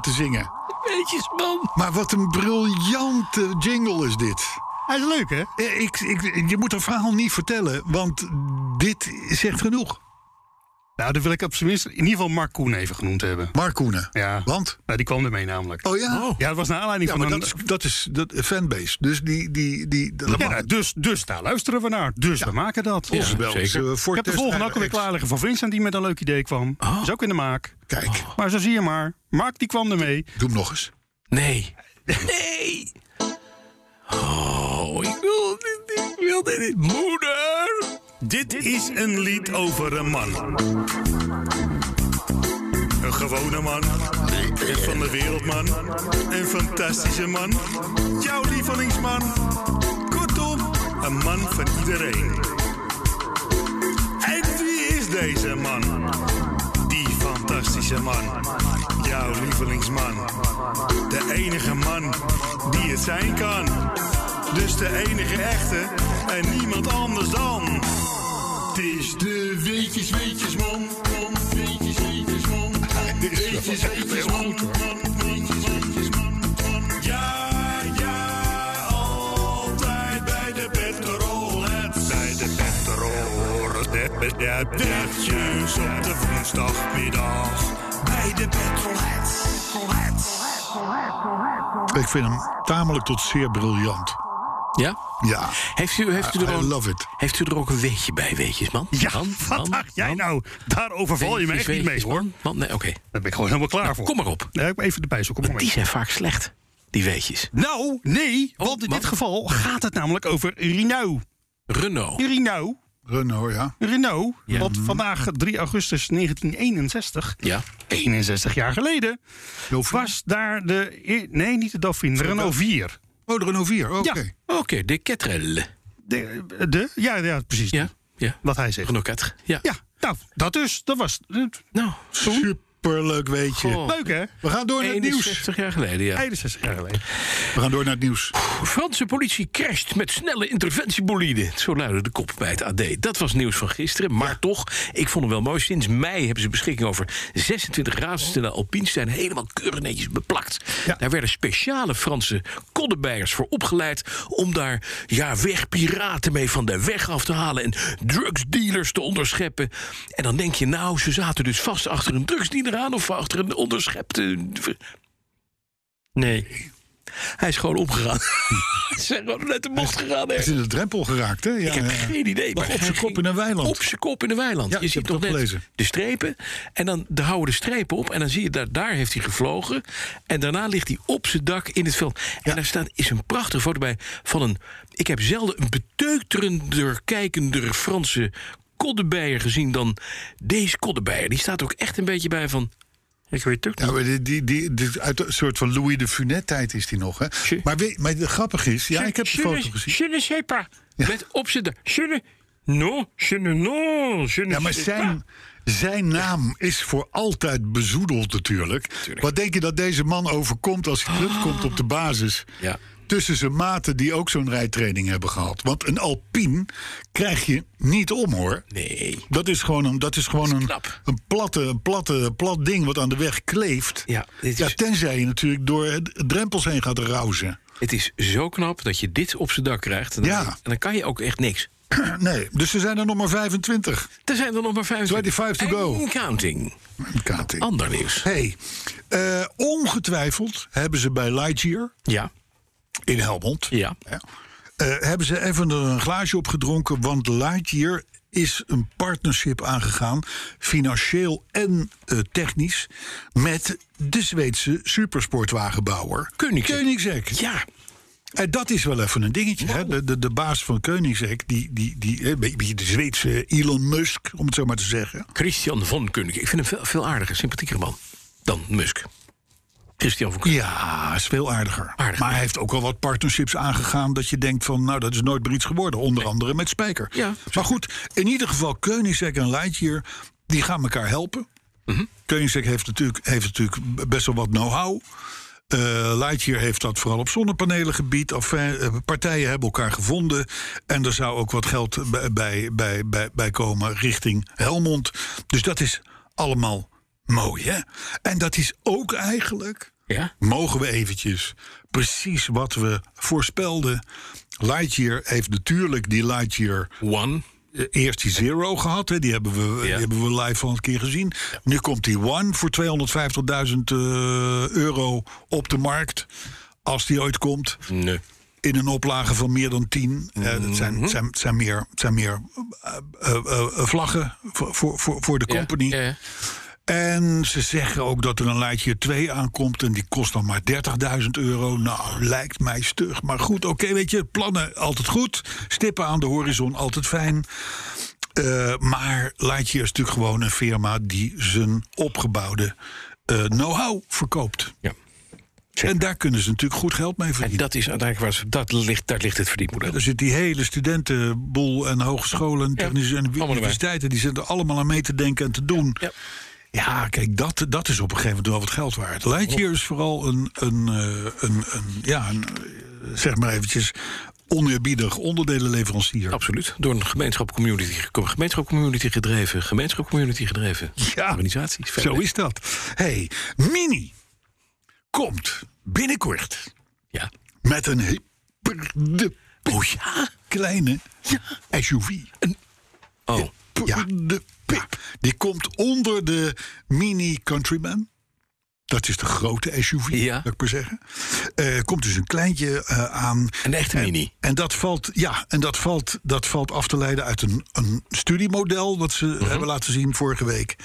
te zingen.
Weetjes, man.
Maar wat een briljante jingle is dit.
Hij is leuk, hè?
Eh, Ik, ik, je moet een verhaal niet vertellen, want dit zegt genoeg.
Nou, dan wil ik op zijn minst in ieder geval Mark Koen even genoemd hebben.
Mark Koenen.
Ja.
Want?
Nou, die kwam ermee namelijk.
Oh ja?
Ja, dat was naar aanleiding
Ja,
van
maar
een...
dat is, dat is dat, fanbase. Dus die... die, die dat
Ja,
mag.
nou, dus, dus daar luisteren we naar. Dus we maken dat.
Ja,
ik
Belgische
zeker.
heb de
Ford-test
volgende ook alweer
rijder
klaar liggen van Vincent die met een leuk idee kwam.
Oh,
Is ook in de maak.
X. Kijk,
Maar zo zie je maar. Mark die kwam ermee.
doe hem nog eens.
Nee. Nee. Oh, ik wil dit. Ik wil dit. niet. Moeder.
Dit is een lied over een man. Een gewone man. En van de wereldman. Een fantastische man. Jouw lievelingsman. Kortom, een man van iedereen. En wie is deze man? Die fantastische man. Jouw lievelingsman. De enige man die het zijn kan. Dus de enige echte en niemand anders dan. Het is de weetjes, weetjes, man. man, Weetjes, weetjes, man. man, Weetjes, weetjes, man. man, Weetjes, weetjes, man. man. Ja, ja, altijd bij de petrolheads. Bij de petrolheads. Dertjes op de woensdagmiddag. Bij de petrolheads.
Ik vind hem tamelijk tot zeer briljant.
Ja?
Ja,
Heeft u, heeft u, er,
I
ook,
love it.
heeft u er ook een weetje bij, weetjes, man?
Ja,
Man,
wat
man,
dacht jij
man?
nou? Daar overval je me echt
Weetjes,
niet mee,
weetjes,
hoor.
man, man? nee, oké.
Daar ben ik gewoon helemaal klaar voor.
Kom maar op.
Ja, ik moet even erbij zoeken. op een
Die
moment.
zijn vaak slecht, die weetjes.
Nou, nee, want in
wat?
dit geval gaat het namelijk over Rino.
Renault.
Rino,
Renault, ja.
Renault, wat vandaag 3 augustus 1961,
Ja.
61 jaar geleden,
Dauphine?
was daar de... e- Nee, niet de Dauphine, de Renault 4.
Oh, de Renault 4, oké.
Ja.
Oké, de ketrel.
De, de, ja, ja, precies.
Ja, ja.
Wat hij zegt.
Renault ketre. Ja.
Ja, nou, dat dus. Dat was
Nou,
Superleuk weetje.
Goh.
leuk, hè?
We gaan door naar het nieuws.
61 jaar geleden, ja.
61 jaar geleden.
We gaan door naar het nieuws.
Franse politie crasht met snelle interventiebolide. Zo luidde de kop bij het AD. Dat was nieuws van gisteren, maar toch, ik vond hem wel mooi. Sinds mei hebben ze beschikking over 26 razendsnelle Alpines. Zijn helemaal keurig netjes beplakt. Daar werden speciale Franse koddebeiers voor opgeleid... om daar ja, wegpiraten mee van de weg af te halen... en drugsdealers te onderscheppen. En dan denk je, nou, ze zaten dus vast achter een drugsdealer aan... of achter een onderschepte... Nee. Hij is gewoon omgegaan. Ze zijn gewoon uit de bocht gegaan.
Hij is
Echt.
in de drempel geraakt, hè? Ja,
Ik heb
ja.
geen idee.
Lag op
hij
zijn kop
ging
in een weiland.
Op zijn kop in een weiland.
Ja,
je
ik
ziet
heb
toch
het
net
ook gelezen.
de strepen. En dan de houden de strepen op. En dan zie je, daar, daar heeft hij gevlogen. En daarna ligt hij op zijn dak in het veld. En daar staat, is een prachtige foto bij van een... Ik heb zelden een beteuterender, kijkender Franse koddebeier gezien... dan deze koddebeier. Die staat ook echt een beetje bij van... Ik weet het ook
Ja, maar Nou, die, die, die, die- uit een soort van Louis de Funès-tijd is die nog, hè? Maar, weet, maar grappig is, ja, ik heb de foto gezien.
Je ne sais pas. Met opzetten. Je ne... Non, je ne... Non, je ne
Ja, maar
sais
zijn, zijn naam is voor altijd bezoedeld natuurlijk. Wat denk je dat deze man overkomt als hij terugkomt op de basis?
Ja.
Tussen zijn maten die ook zo'n rijtraining hebben gehad. Want een Alpine krijg je niet om, hoor.
Nee.
Dat is gewoon een, dat is gewoon een,
knap.
een platte, een platte, een plat ding wat aan de weg kleeft.
Ja, dit
Ja,
is-
tenzij je natuurlijk door het- drempels heen gaat rauzen.
Het is zo knap dat je dit op zijn dak krijgt. En dan,
Ja.
en dan kan je ook echt niks.
Nee, dus er zijn er nog maar 25.
Er zijn er nog maar 25.
25 to go.
En counting.
Kating.
Ander nieuws.
Hey, eh, ongetwijfeld hebben ze bij Lightyear
Ja.
in Helmond...
Ja.
hè, eh, hebben ze even er een glaasje op gedronken... want Lightyear is een partnership aangegaan... financieel en eh, technisch... met de Zweedse supersportwagenbouwer...
Koenigsegg.
Koenigsegg.
Ja.
En dat is wel even een dingetje. Hè? De, de, de baas van Koenigsegg, die, die, die, eh, een beetje de Zweedse Elon Musk, om het zo maar te zeggen.
Christian van Kunneke. Ik vind hem veel, veel aardiger, sympathieker man dan Musk. Christian van Kunneke.
Ja, is veel aardiger.
Aardig.
Maar hij heeft ook al wat partnerships aangegaan dat je denkt van, nou, dat is nooit meer iets geworden. Onder andere met Spijker.
Ja.
maar goed, in ieder geval Koenigsegg en Lightyear, die gaan elkaar helpen.
Mhm.
Koenigsegg heeft natuurlijk, heeft natuurlijk best wel wat know-how. Eh, Lightyear heeft dat vooral op zonnepanelengebied. Enfin, eh, partijen hebben elkaar gevonden. En er zou ook wat geld bij- bij, bij, bij, bij komen richting Helmond. Dus dat is allemaal mooi, hè? En dat is ook eigenlijk
Ja.
mogen we eventjes precies wat we voorspelden. Lightyear heeft natuurlijk die Lightyear
One.
eh, eerst die Zero gehad. Hè. Die, hebben we, die hebben we live al een keer gezien. Nu komt die One voor 250.000 eh, euro op de markt. Als die ooit komt.
Nee.
In een oplage van meer dan 10. Eh,
Mhm.
dat zijn, zijn, zijn meer, zijn meer eh, eh, eh, vlaggen voor, voor, voor- voor de company.
Ja. Ja.
En ze zeggen ook dat er een Lightyear 2 aankomt en die kost dan maar 30.000 euro. Nou, lijkt mij stug. Maar goed, oké, weet je, plannen altijd goed. Stippen aan de horizon altijd fijn. Eh, maar Lightyear is natuurlijk gewoon een firma die zijn opgebouwde eh, know-how verkoopt.
ja.
En daar kunnen ze natuurlijk goed geld mee
En
verdienen.
dat is uiteindelijk waar ze, dat ligt, daar ligt het verdienmodel.
Er zit die hele studentenboel en hogescholen, technische en
allemaal erbij.
universiteiten, die zitten er allemaal aan mee te denken en te doen.
Ja.
Ja, kijk, dat, dat is op een gegeven moment wel wat geld waard. Lightyear is vooral een, een, eh, een, een, ja, een, eh, zeg maar eventjes, oneerbiedig onderdelenleverancier.
Absoluut. Door een gemeenschap community, gemeenschap community gedreven. Gemeenschap community gedreven.
Ja.
Organisaties.
Zo is dat. hey, Mini komt binnenkort
Ja.
met een hyper
Oh ja.
kleine SUV.
Oh.
Ja. De pip. Die komt onder de Mini Countryman. Dat is de grote SUV,
Ja.
ja. ik maar zeggen. Eh, komt dus een kleintje eh, aan.
Een echte mini.
En dat valt, ja, en dat valt, dat valt af te leiden uit een, een studiemodel... dat ze hebben laten zien vorige week.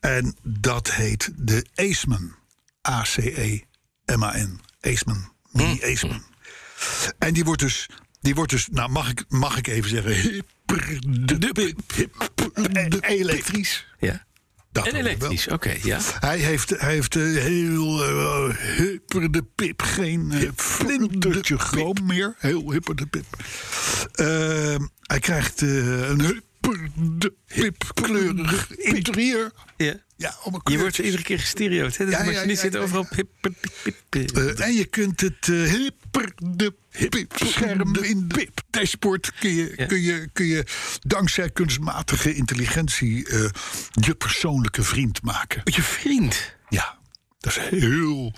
En dat heet de Aceman. A-C-E-M-A-N. Aceman. Mini Aceman. En die wordt dus, die wordt dus nou mag ik, mag ik even zeggen, elektrisch.
Ja.
Dat
En
wel.
elektrisch, oké. ja.
Hij heeft, hij heeft eh, heel eh, hipper de pip. Geen eh, vlindertje groom meer. Heel hipper de pip. Ehm, hij krijgt eh, een hipper de pip kleurig interieur.
ja.
Ja, om een
Je
kleur
wordt
te-
iedere keer gestereotypeerd. hè? Dat
Ja,
is
ja,
machinist
ja,
zit
ja, ja.
overal pip, pip, pip, pip.
Eh, en je kunt het eh, hipper de pip scherm in de pip dashboard kun je,
Ja.
kun je, kun je dankzij kunstmatige intelligentie eh, je persoonlijke vriend maken.
je vriend.
Ja, dat is heel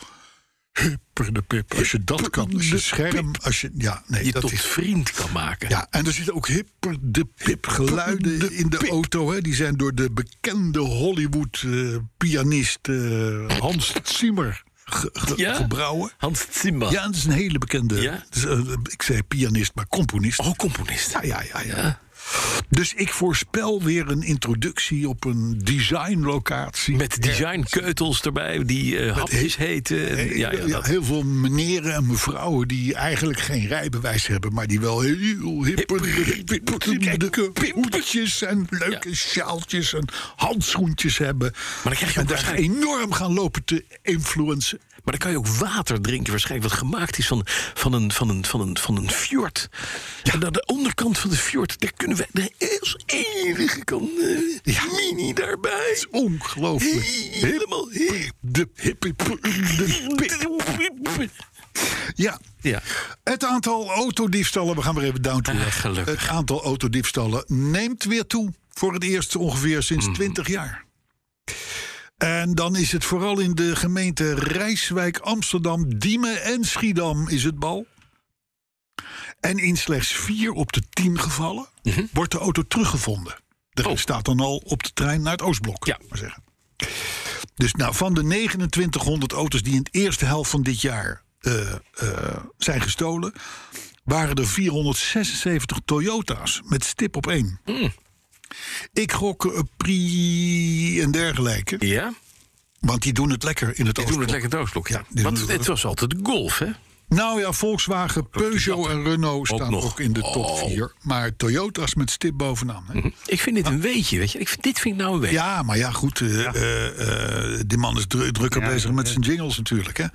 hipper de pip. Als je dat kan, als je scherm, als je ja, nee,
Je
dat
tot
is
vriend kan maken.
ja, en er zitten ook hipper de pip geluiden in de auto. Hè. Die zijn door de bekende Hollywood-pianist eh, Hans Zimmer ge- ge-
Ja?
gebrouwen.
Hans Zimmer.
Ja, dat is een hele bekende.
Ja?
het is, eh, ik zei pianist, maar componist.
Oh, componist.
Ja, ja, ja, ja. Dus ik voorspel weer een introductie op een designlocatie.
Met designkeutels erbij, die eh, hapjes heten. en-
Eh,
ja, ja, dat.
heel veel meneren en mevrouwen die eigenlijk geen rijbewijs hebben, maar die wel heel hippe hoedjes en leuke sjaaltjes en handschoentjes hebben. Maar
dan krijg je
en
ook
daar
waarschijnlijk-
enorm gaan lopen te influencen.
Maar dan kan je ook water drinken, waarschijnlijk, wat gemaakt is van, van, een, van, een, van, een, van een fjord. En aan de onderkant van de fjord, daar kunnen wij de als enige kan eh, mini daarbij.
Ongelooflijk.
Helemaal hip.
De hippe Ja.
Ja.
Het aantal autodiefstallen, we gaan weer even down to
Ah,
earth.
gelukkig.
Het aantal autodiefstallen neemt weer toe. Voor het eerst ongeveer sinds 20 jaar. En dan is het vooral in de gemeente Rijswijk, Amsterdam, Diemen en Schiedam is het bal. En in slechts 4 op de 10 gevallen wordt de auto teruggevonden. De rest staat dan al op de trein naar het Oostblok.
Ja.
Maar zeggen. Dus nou, van de 2900 auto's die in de eerste helft van dit jaar eh, eh, zijn gestolen, waren er 476 Toyota's met stip op één.
Hmm.
Ik gok eh, Pri en dergelijke,
Ja,
want die doen het lekker in het
die doen het
Oostblok.
lekker doosblok. Ja.
Ja, die
Want
doen het-
het was altijd golf, hè?
Nou ja, Volkswagen, Peugeot en Renault
Ook
staan ook,
nog.
in de top
Oh. Mhm.
4. Maar Toyota's met stip bovenaan. Hè?
Ik vind dit een weetje, weet je. Ik vind, dit vind ik nou een weetje.
Ja, maar ja, goed. eh, eh, eh, die man is dru- drukker bezig met zijn jingles natuurlijk. Hè?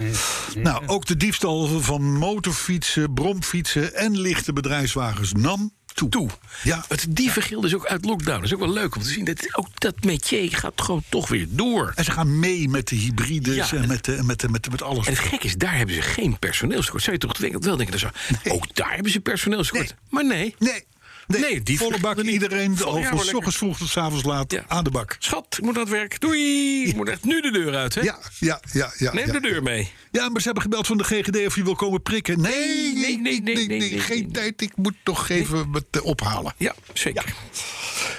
Nou, ook de diefstal van motorfietsen, bromfietsen en lichte bedrijfswagens nam toe.
Toe.
Ja.
Het dievengild is ook uit lockdown. Dat is ook wel leuk om te zien. Dat, ook dat metier gaat gewoon toch weer door.
En ze gaan mee met de hybrides
Ja,
en
en-
met, de, met, de, met, de- met alles.
En het gek is, daar hebben ze geen personeelstekort. Zou je toch denken- wel denken, dat zou- ook daar hebben ze personeelstekort.
Nee.
Maar nee.
nee, nee,
Nee, die
volle bak.
vliegen niet.
Iedereen
Volle-
al
ja,
van
hoor,
s ochtends vroeg tot s avonds laat
Ja.
aan de bak.
Schat, ik moet naar het werk. Doei. Ik moet echt nu de deur uit, hè?
Ja, ja, ja. ja
Neem
ja.
de deur mee.
Ja, maar ze hebben gebeld van de GGD of je wil komen prikken. Nee, nee, nee, nee, nee,
nee,
geen
nee.
tijd. Ik moet toch even wat eh, ophalen.
Ja, zeker.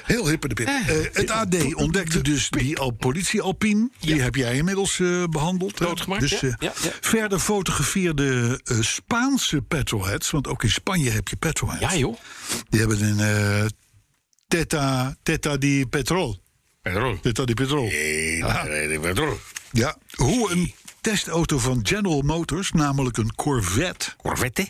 Heel hippe de pip. Eh, het AD ontdekte dus die al politie Alpine. Die heb jij inmiddels eh, behandeld. hè?
Doodgemaakt,
dus,
ja,
eh,
ja, ja.
Verder fotografeerde eh, Spaanse petrolheads. Want ook in Spanje heb je petrolheads.
Ja, joh.
Die hebben een eh teta, teta di petrol.
Pedro.
Teta di petrol.
Pedro.
Ja. Hoe een testauto van General Motors, namelijk een Corvette...
Corvette.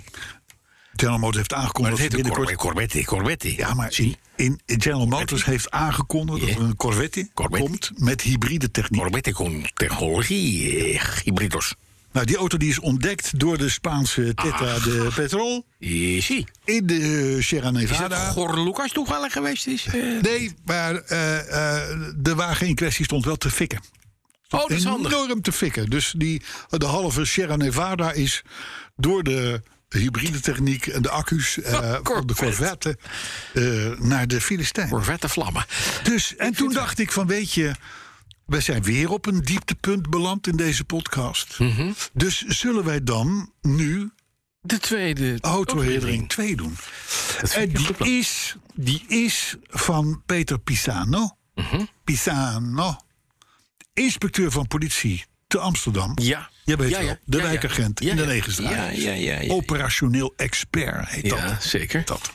General Motors heeft aangekondigd
Maar het
dat
heet
ze
een
binnenkort...
Corvette. Corvette. Corvette.
Ja, maar in, in in General Motors heeft aangekondigd dat er een Corvette,
Corvette.
komt met hybride techniek.
Corvette con technologie. eh, Hybridos.
Nou, die auto die is ontdekt door de Spaanse Teta de Petrol
Zie.
in de eh, Sierra
Ah. Is dat
Nevada.
Gor Lucas toevallig geweest is? Eh,
Nee, maar eh, eh, de wagen in kwestie stond wel te fikken.
Oh, dat is handig.
Enorm te fikken. Dus die, de halve Sierra Nevada is door de hybride techniek en de accu's eh,
Ah,
van de Corvette eh, naar de Filistijn.
Corvette vlammen.
Dus, en toen dacht ik van, weet je... We zijn weer op een dieptepunt beland in deze podcast.
Mhm.
Dus zullen wij dan nu
De tweede
Autoherinnering 2 doen?
vind
En
ik een goed plan.
die is, die is van Peter Pisano.
Mhm.
Pisano. Inspecteur van politie te Amsterdam.
Ja.
Je weet
Ja,
wel,
ja.
de
Ja, ja.
wijkagent
Ja,
in de
ja.
Negenstraat.
Ja, ja, ja, ja.
Operationeel expert heet
Ja,
dat.
zeker.
dat.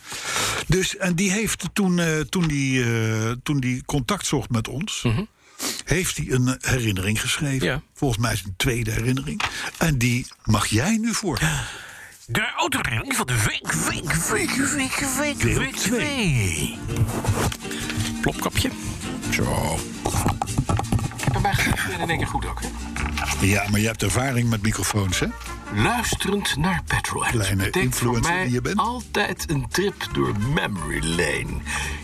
Dus, en die heeft toen, eh, toen, die, eh, toen die contact zocht met ons... heeft hij een herinnering geschreven.
Mhm. Ja.
Volgens mij is het een tweede herinnering. En die mag jij nu voor.
De autoherinnering van de week, week, week, week, week, week 2.
Plopkapje. Zo. En bij gaat in één keer goed ook, hè?
Ja, maar je hebt ervaring met microfoons, hè?
Luisterend naar Petrolhead
Kleine
betekent voor
influencer
mij
die je bent.
altijd een trip door memory lane.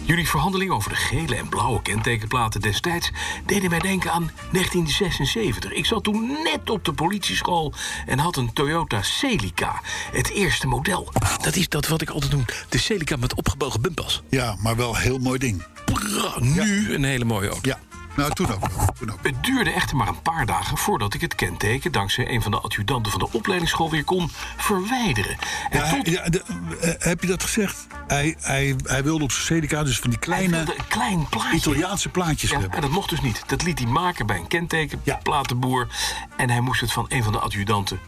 Jullie verhandeling over de gele en blauwe kentekenplaten destijds... deden mij denken aan 1976. Ik zat toen net op de politieschool en had een Toyota Celica. Het eerste model.
Dat is dat wat ik altijd doe. De Celica met opgebogen bumpels.
Ja, maar wel een heel mooi ding.
Prrr, Nu een hele mooie auto.
Ja. Nou, toen ook. wel, Toen ook.
Het duurde echter maar een paar dagen voordat ik het kenteken... dankzij een van de adjudanten van de opleidingsschool weer kon verwijderen. En
Ja,
tot...
ja, de- eh, heb je dat gezegd? Hij, hij, hij wilde op zijn CDK dus van die
Hij wilde
kleine
een eh, klein plaatje.
Italiaanse plaatjes
Ja, maar
hebben.
dat mocht dus niet. Dat liet hij maken bij een
Ja.
kentekenplatenboer. En hij moest het van een van de adjudanten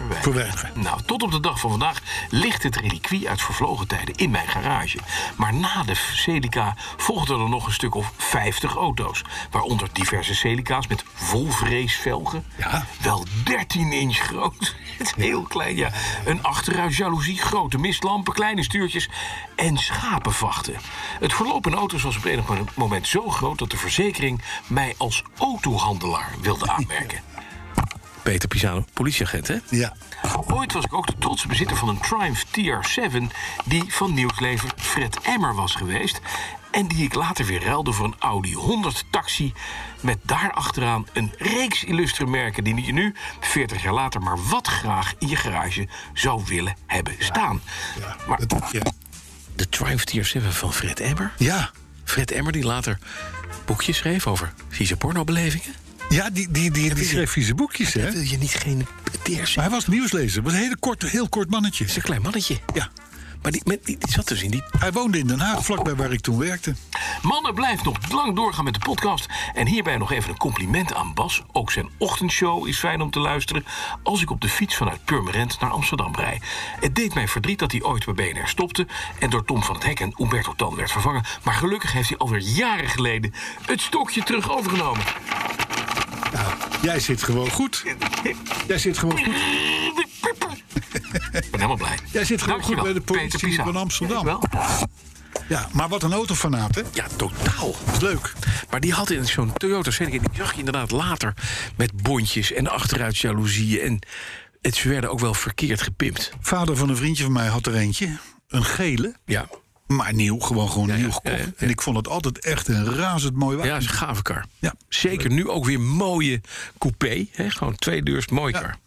verwijderen.
Verwijderen.
Nou, tot op de dag van vandaag ligt het reliquie uit vervlogen tijden in mijn garage. Maar na de Celica volgden er nog een stuk of 50 auto's. Waaronder diverse Celica's met volvreesvelgen.
Ja.
Wel 13 inch groot. Het is heel klein, ja. Een achteruit jaloezie, grote mistlampen, kleine stuurtjes en schapenvachten. Het verloop in auto's was op enig moment zo groot... dat de verzekering mij als autohandelaar wilde aanmerken.
Peter Pisano, politieagent, hè?
Ja.
Ooit was ik ook de trotse bezitter van een Triumph TR7... die van nieuwslever Fred Emmer was geweest... en die ik later weer ruilde voor een Audi 100 taxi... met daarachteraan een reeks illustre merken... die je nu, 40 jaar later, maar wat graag in je garage zou willen hebben staan. Maar
Dat, ja.
De Triumph TR7 van Fred Emmer.
ja.
Fred Emmer die later boekjes schreef over vieze pornobelevingen.
Ja, die, die, die, die schreef vieze boekjes, hè?
Wil je niet geen TR7?
Maar hij was nieuwslezer. was een hele kort, heel kort mannetje.
is een klein mannetje.
Ja.
Maar die, maar die, die zat dus in die...
Hij woonde in Den Haag, vlakbij waar ik toen werkte.
Mannen, blijft nog lang doorgaan met de podcast. En hierbij nog even een compliment aan Bas. Ook zijn ochtendshow is fijn om te luisteren... als ik op de fiets vanuit Purmerend naar Amsterdam rij. Het deed mij verdriet dat hij ooit bij BNR stopte... en door Tom van het Hek en Umberto Tan werd vervangen. Maar gelukkig heeft hij alweer jaren geleden het stokje terug overgenomen.
Jij zit gewoon goed. Jij zit gewoon goed.
Ik ben helemaal blij.
Jij zit gewoon goed
Dankjewel,
bij de politie
Peter Pisa.
van Amsterdam.
Ja, ik wel.
Ja, maar wat een autofanaat, hè?
Ja, totaal.
Is leuk.
Maar die had in zo'n Toyota Celica... die zag je inderdaad later met bondjes en achteruit jaloezieën. En het, ze werden ook wel verkeerd gepimpt.
Vader van een vriendje van mij had er eentje. Een gele.
Ja,
Maar nieuw, gewoon, gewoon nieuw gekocht.
ja, ja.
En ik vond het altijd echt een razend mooi wapen.
ja is een gave kar.
Ja.
Zeker nu ook weer mooie coupé. Hè? Gewoon tweedeurs, mooi kar.
Ja.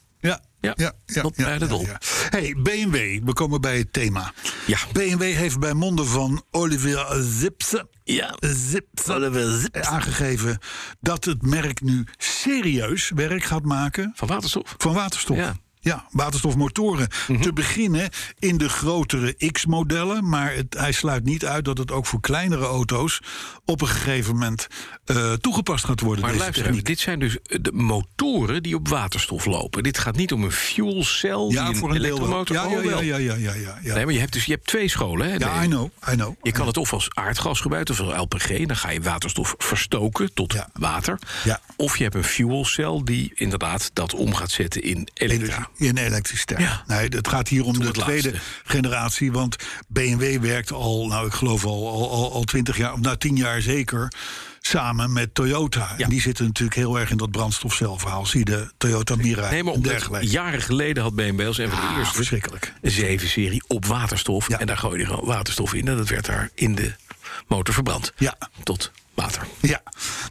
Ja, dat leidde het op.
Hey, BMW, we komen bij het thema.
Ja.
BMW heeft bij monden van Olivier Zipse,
Ja.
Zipse, eh, aangegeven dat het merk nu serieus werk gaat maken
Van waterstof.
van waterstof.
Ja. Mhm.
Ja, waterstofmotoren. Te beginnen in de grotere X-modellen. Maar het, hij sluit niet uit dat het ook voor kleinere auto's op een gegeven moment eh, toegepast gaat worden.
Maar
deze
luister,
techniek.
even, dit zijn dus eh, de motoren die op waterstof lopen. Dit gaat niet om een fuelcel die
ja,
een,
voor een deel wel.
elektromotor...
Ja,
Oh,
ja, ja,
wel.
ja, ja, ja, ja, ja.
Nee, maar je hebt dus je hebt twee scholen. Hè?
Ja,
Nee.
I know, I know.
Je kan het of als aardgas gebruiken, of als LPG. Dan ga je waterstof verstoken tot
Ja.
water.
Ja.
Of je hebt een fuelcel die inderdaad dat om gaat zetten in elektra.
In elektriciteit.
Ja.
Nee, het gaat hier om de
het
tweede
laatste.
generatie. Want BMW werkt al, nou ik geloof al, al, al, al 20 jaar, of nou 10 jaar zeker, samen met Toyota.
Ja.
En die zitten natuurlijk heel erg in dat brandstofcelverhaal. Zie je de Toyota Mirai
Nee, maar
en
omdat
dergelijke.
jaren geleden had BMW als een van de eerste
Ah, verschrikkelijk.
7-serie op waterstof.
Ja.
En daar gooide je gewoon waterstof in. En dat werd daar in de motor verbrand.
Ja.
Tot water.
Ja,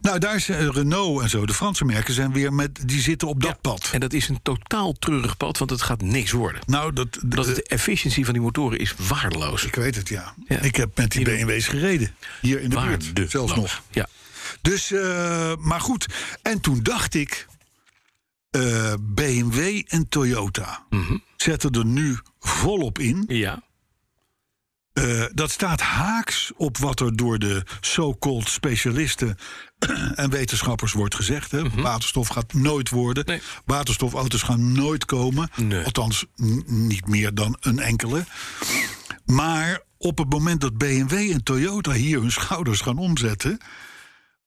nou daar is eh, Renault en zo, de Franse merken zijn weer met, die zitten op dat pad.
En dat is een totaal treurig pad, want het gaat niks worden.
Nou, dat,
Omdat
de-
de efficiëncy van die motoren is waardeloos.
ik weet het ja.
Ja.
Ik heb met die BMW's gereden. Hier in de buurt,
Waardeloos.
zelfs nog.
Ja.
Dus, eh, maar goed. En toen dacht ik, eh, BMW en Toyota
Mhm.
zetten er nu volop in.
ja.
Eh, dat staat haaks op wat er door de so-called specialisten en wetenschappers wordt gezegd. Hè. Waterstof gaat nooit worden.
Mhm. Nee.
Waterstofauto's gaan nooit komen.
Nee.
Althans, n- niet meer dan een enkele. Maar op het moment dat BMW en Toyota hier hun schouders gaan omzetten,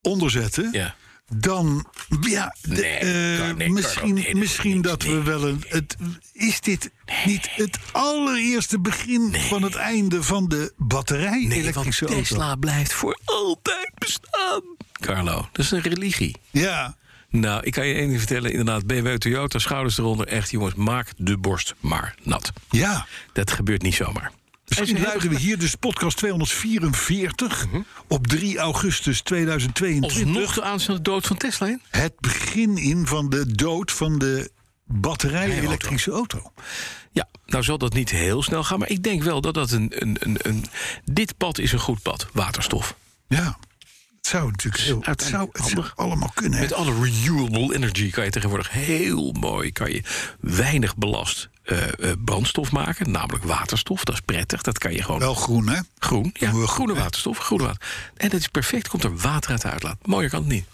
onderzetten,
Ja.
dan. Ja, de-
Nee,
eh,
kan- nee, kan ook
misschien,
niet. Nee,
misschien
nee,
dat we
nee,
wel een. Het, is dit niet het allereerste begin van het einde van de
Nee, want
batterij-elektrische auto?
Tesla blijft voor altijd bestaan. Carlo, dat is een religie.
Ja,
Nou, ik kan je één ding vertellen. Inderdaad, BMW, Toyota, schouders eronder. Echt, jongens, maak de borst maar nat.
ja.
Dat gebeurt niet zomaar.
Misschien luiden we hier dus podcast 244 op 3 augustus 2022.
Mhm. Alsnog de aanstaande dood van Tesla in?
Het begin in van de dood van de batterij-elektrische auto.
Ja, nou zal dat niet heel snel gaan. Maar ik denk wel dat dat een... een, een, een dit pad is een goed pad, waterstof.
Ja, het zou natuurlijk heel. Het zou,
uiteindelijk
het zou
handig.
allemaal kunnen. hè?
Met alle renewable energy kan je tegenwoordig heel mooi... kan je weinig belast eh, eh, brandstof maken, namelijk waterstof. Dat is prettig, dat kan je gewoon
Wel groen, hè?
Groen, ja.
Doen we
groene
hè?
waterstof, groene water. En dat is perfect, komt er water uit de uitlaat. Mooier kan het niet.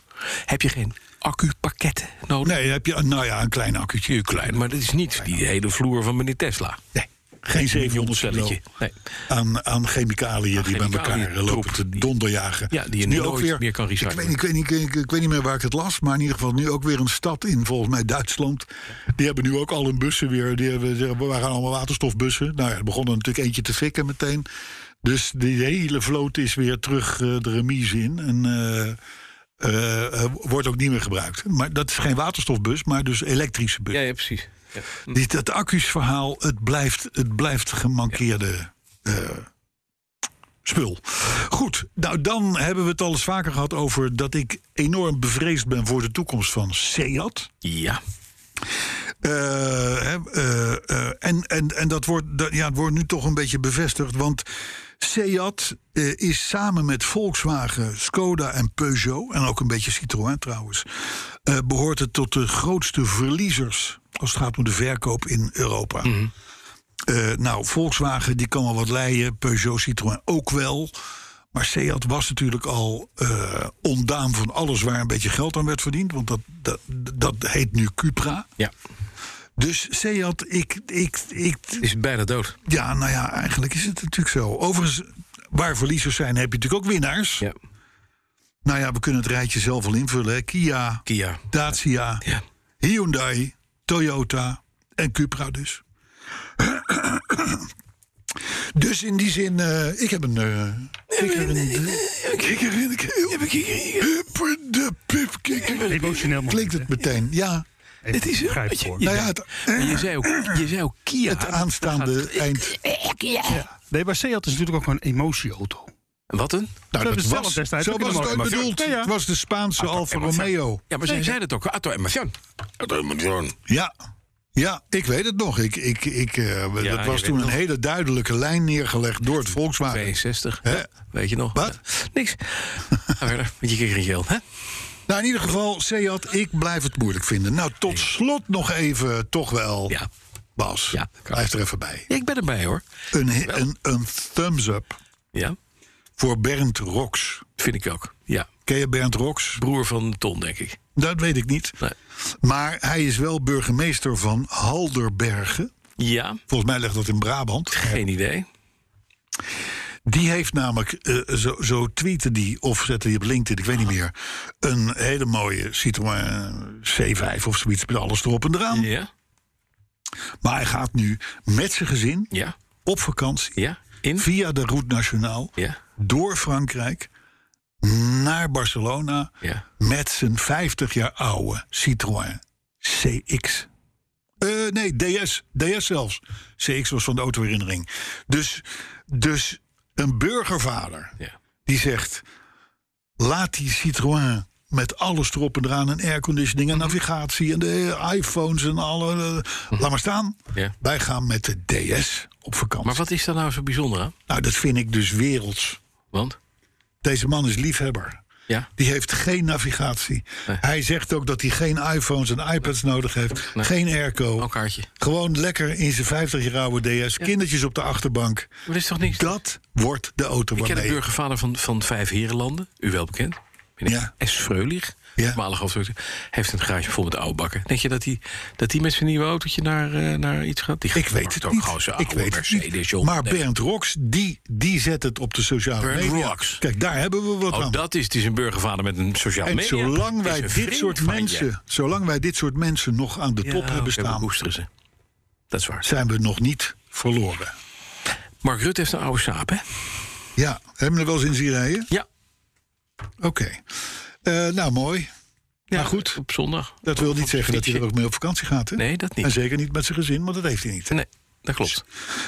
Heb je geen accupakketten nodig?
Nee, heb je, nou ja, een klein accu'tje.
Heel klein, maar dat is niet die hele vloer van meneer Tesla.
Nee, geen 700
celletje.
celletje.
Nee.
Aan, aan chemicaliën die bij
chemicaliën,
elkaar eh, lopen
troep.
te donderjagen.
Ja, die je
Is nu
nooit meer kan
ik
recyclen.
weet, niet- ik, weet niet, ik, ik weet niet meer waar ik het las, maar in ieder geval nu ook weer een stad in, volgens mij Duitsland. Die hebben nu ook al hun bussen weer. Die hebben, die waren allemaal waterstofbussen. Nou ja, er begon er natuurlijk eentje te fikken meteen. Dus die hele vloot is weer terug eh, de remise in. En eh, eh, eh, wordt ook niet meer gebruikt. Maar dat is geen waterstofbus, maar dus elektrische bus.
Ja, ja, precies. Ja.
Die, dat accusverhaal, het blijft, het blijft gemankeerde eh, spul. Goed, nou dan hebben we het al eens vaker gehad over dat ik enorm bevreesd ben voor de toekomst van Seat.
Ja.
Eh, hè, eh, eh, en en, en dat, wordt, dat- ja, het wordt nu toch een beetje bevestigd. Want Seat eh, is samen met Volkswagen, Skoda en Peugeot... en ook een beetje Citroën trouwens... eh, behoort het tot de grootste verliezers... als het gaat om de verkoop in Europa. Eh, nou, Volkswagen die kan wel wat leien. Peugeot, Citroën ook wel. Maar Seat was natuurlijk al eh, ondaan van alles waar een beetje geld aan werd verdiend. Want dat, dat, dat heet nu Cupra.
ja,
Dus Seat, ik, ik, ik.
is bijna dood.
Ja, nou ja, eigenlijk is het natuurlijk zo. Overigens, waar verliezers zijn, heb je natuurlijk ook winnaars.
Ja.
Nou ja, we kunnen het rijtje zelf wel invullen: hè. Kia,
Kia.
Dacia,
Ja.
Hyundai, Toyota en Cupra dus. dus in die zin, eh, ik heb een. eh ik heb een. Hupper de pipkikker.
Emotioneel moment,
Klinkt het meteen, ja.
hè?
Het is
Begrijp
een
ik hoor.
beetje-
Nou ja, het,
Maar je zei ook, je zei ook Kia.
het aanstaande eind.
Nee, maar Seat is natuurlijk ook een emotieauto.
Wat een?
Nou,
Ze
dat
hebben
was,
zelf destijds
zo
ook
was
in de
het ooit
markt.
bedoeld.
Ja, ja. Ah,
Het was de Spaanse Alfa Romeo.
Ja, maar zij zei dat ook. Atto Emerson. Atto Emerson.
Ja. Ja, ik weet het nog. Ik, ik, ik, eh,
je
dat
weet
was toen
het
een
nog.
hele duidelijke lijn neergelegd door het Volkswagen.
62.
Hè?
Ja, Weet je nog?
Wat?
Ja, Niks. Ga verder. Met je kikkerigeel, hè?
Nou, in ieder geval, Seat, ik blijf het moeilijk vinden. Nou, tot slot nog even, toch wel,
Ja.
Bas,
Ja, kan.
blijf er even bij.
Ja, ik ben erbij, hoor.
Een, een, een thumbs up
Ja,
voor Bernd Rox.
vind ik ook. Ja.
Ken je Bernd Rox?
Broer van Ton, denk ik. Nou,
Dat weet ik niet.
Nee.
Maar hij is wel burgemeester van Halderbergen.
Ja,
Volgens mij ligt dat in Brabant.
geen idee.
Die heeft namelijk, eh, zo, zo tweette die, of zette die op LinkedIn, ik weet niet meer... een hele mooie Citroën C5 of zoiets met alles erop en eraan.
Ja,
Maar hij gaat nu met zijn gezin
ja,
op vakantie...
ja. In?
via de route nationaal
Ja,
door Frankrijk naar Barcelona...
ja.
met zijn 50 jaar oude Citroën CX. Eh, nee, DS. DS zelfs. CX was van de autoherinnering. Dus, dus een burgervader
ja.
die zegt... laat die Citroën met alles erop en eraan... en airconditioning
Mhm.
en navigatie en de iPhones en alle... eh, laat maar staan.
Ja.
Wij gaan met de DS op vakantie.
Maar wat is daar nou zo bijzonder aan?
Nou, dat vind ik dus werelds.
Want?
Deze man is liefhebber.
Ja,
Die heeft geen navigatie. Hij zegt ook dat hij geen iPhones en iPads nodig heeft. Geen airco.
een kaartje.
Gewoon lekker in zijn 50 jaar oude DS. Kindertjes op de achterbank.
Maar dat is toch niks?
Dat wordt de auto
ik ken de
waarmee...
burgervader van, van Vijf Herenlanden, u wel bekend. Meneer
Ja.
S. Freulich.
Ja.
voormalige hoofdredacteur, heeft een garage vol met oude bakken. Denk je dat hij dat die met zijn nieuwe autootje naar, eh, naar iets gaat? Die
Ik weet het
ook
niet.
gewoon zijn
ik
oude
weet het
Mercedes,
niet.
joh.
Maar
Nee.
Bernd Rox, die, die zet het op de sociale
Bernd
media.
Rox.
Kijk, daar hebben we wat
Oh,
aan.
dat is, het is een burgervader met een sociaal
en
media.
zolang
Is
wij,
een
dit
vriend
soort
van je.
mensen, zolang wij dit soort mensen nog aan de
Ja, oh,
top
oké,
hebben
we
staan,
koesteren ze. Dat is waar.
zijn we nog niet verloren.
Mark Rutte heeft een oude saap, hè?
Ja, hebben we er wel eens in zien rijden?
Ja.
Oké. Eh, nou, mooi.
ja
Maar goed,
Op zondag.
Dat wil niet zeggen dat hij er ook mee op vakantie gaat. Hè?
Nee, dat niet.
En zeker niet met zijn gezin, want dat heeft hij niet.
Nee, dat klopt.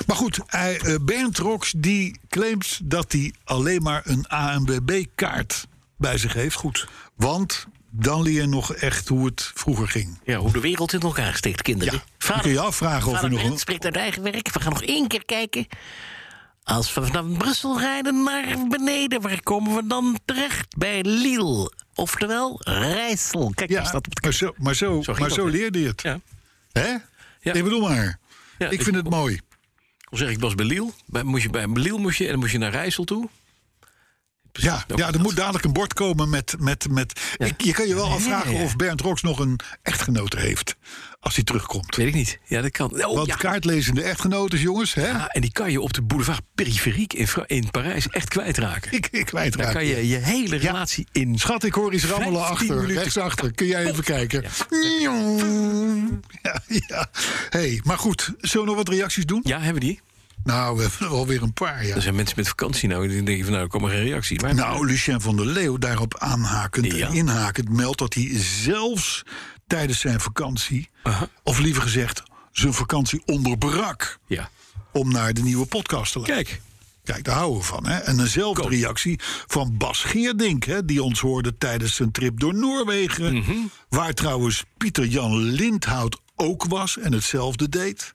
Maar goed, hij, eh, Bernd Rox die claimt dat hij alleen maar een ANWB-kaart bij zich heeft. Goed. Want dan leer je nog echt hoe het vroeger ging.
Ja, hoe de wereld in elkaar steekt, kinderen.
Ja, dan kun je je afvragen of je
vader
nog...
Brent
een-
spreekt uit eigen werk. We gaan nog één keer kijken. Als we vanaf Brussel rijden naar beneden, waar komen we dan terecht? Bij Lille. Oftewel, Rijssel. Kijk, daar
Ja,
staat op de
maar zo, maar zo,
ging
maar
dat,
zo
hè?
leerde je het.
Ja.
Hè?
Ja.
Ik bedoel maar.
Ja,
ik vind het mooi.
Hoe zeg ik, was bij Liel. Bij, moest je, bij Liel moest je en dan moest je naar Rijssel toe. Precies,
Ja,
ook
ja, er
dat.
moet dadelijk een bord komen met... met, met ik, je kan je wel afvragen of Bernd Rox nog een echtgenote heeft. Als hij terugkomt.
Weet ik niet. Ja, dat kan. Oh,
Want
ja.
kaartlezende echtgenotes, jongens, hè?
Ah, en die kan je op de boulevard periferiek in, Fra- in Parijs echt kwijtraken.
Ik, ik
Daar
kwijtraak.
kan je je hele relatie in.
Schat, ik hoor iets rammelen
15
achter,
minuten.
rechtsachter. Kun jij even kijken? Ja, ja. Hey, maar goed, zullen we nog wat reacties doen?
Ja, hebben die?
Nou, we hebben er alweer een paar, ja.
Er zijn mensen met vakantie nou. Die denken van, nou, er komt maar geen reactie. Maar
Nou, Lucien van der Leeuw, daarop aanhakend
Ja.
en inhakend... meldt dat hij zelfs tijdens zijn vakantie... of liever gezegd, zijn vakantie onderbrak...
ja.
om naar de nieuwe podcast te luisteren.
Kijk.
Kijk, daar houden we van. Hè? En eenzelfde reactie van Bas Geerdink... Hè, die ons hoorde tijdens zijn trip door Noorwegen...
Mhm.
waar trouwens Pieter-Jan Lindhout ook was en hetzelfde deed.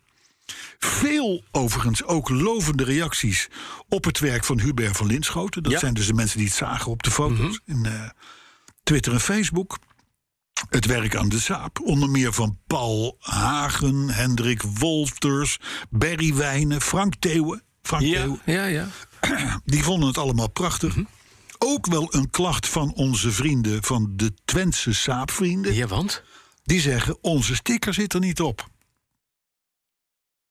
Veel overigens ook lovende reacties op het werk van Hubert van Linschoten. Dat
Ja. Mhm.
zijn dus de mensen die het zagen op de foto's in eh, Twitter en Facebook. Het werk aan de zaap. Onder meer van Paul Hagen, Hendrik Wolters, Berry Wijnen, Frank Theeuwen. Frank
Ja,
Theeuwen,
ja, ja.
die vonden het allemaal prachtig.
Mhm.
Ook wel een klacht van onze vrienden, van de Twentse saapvrienden.
Ja, want?
Die zeggen, onze sticker zit er niet op.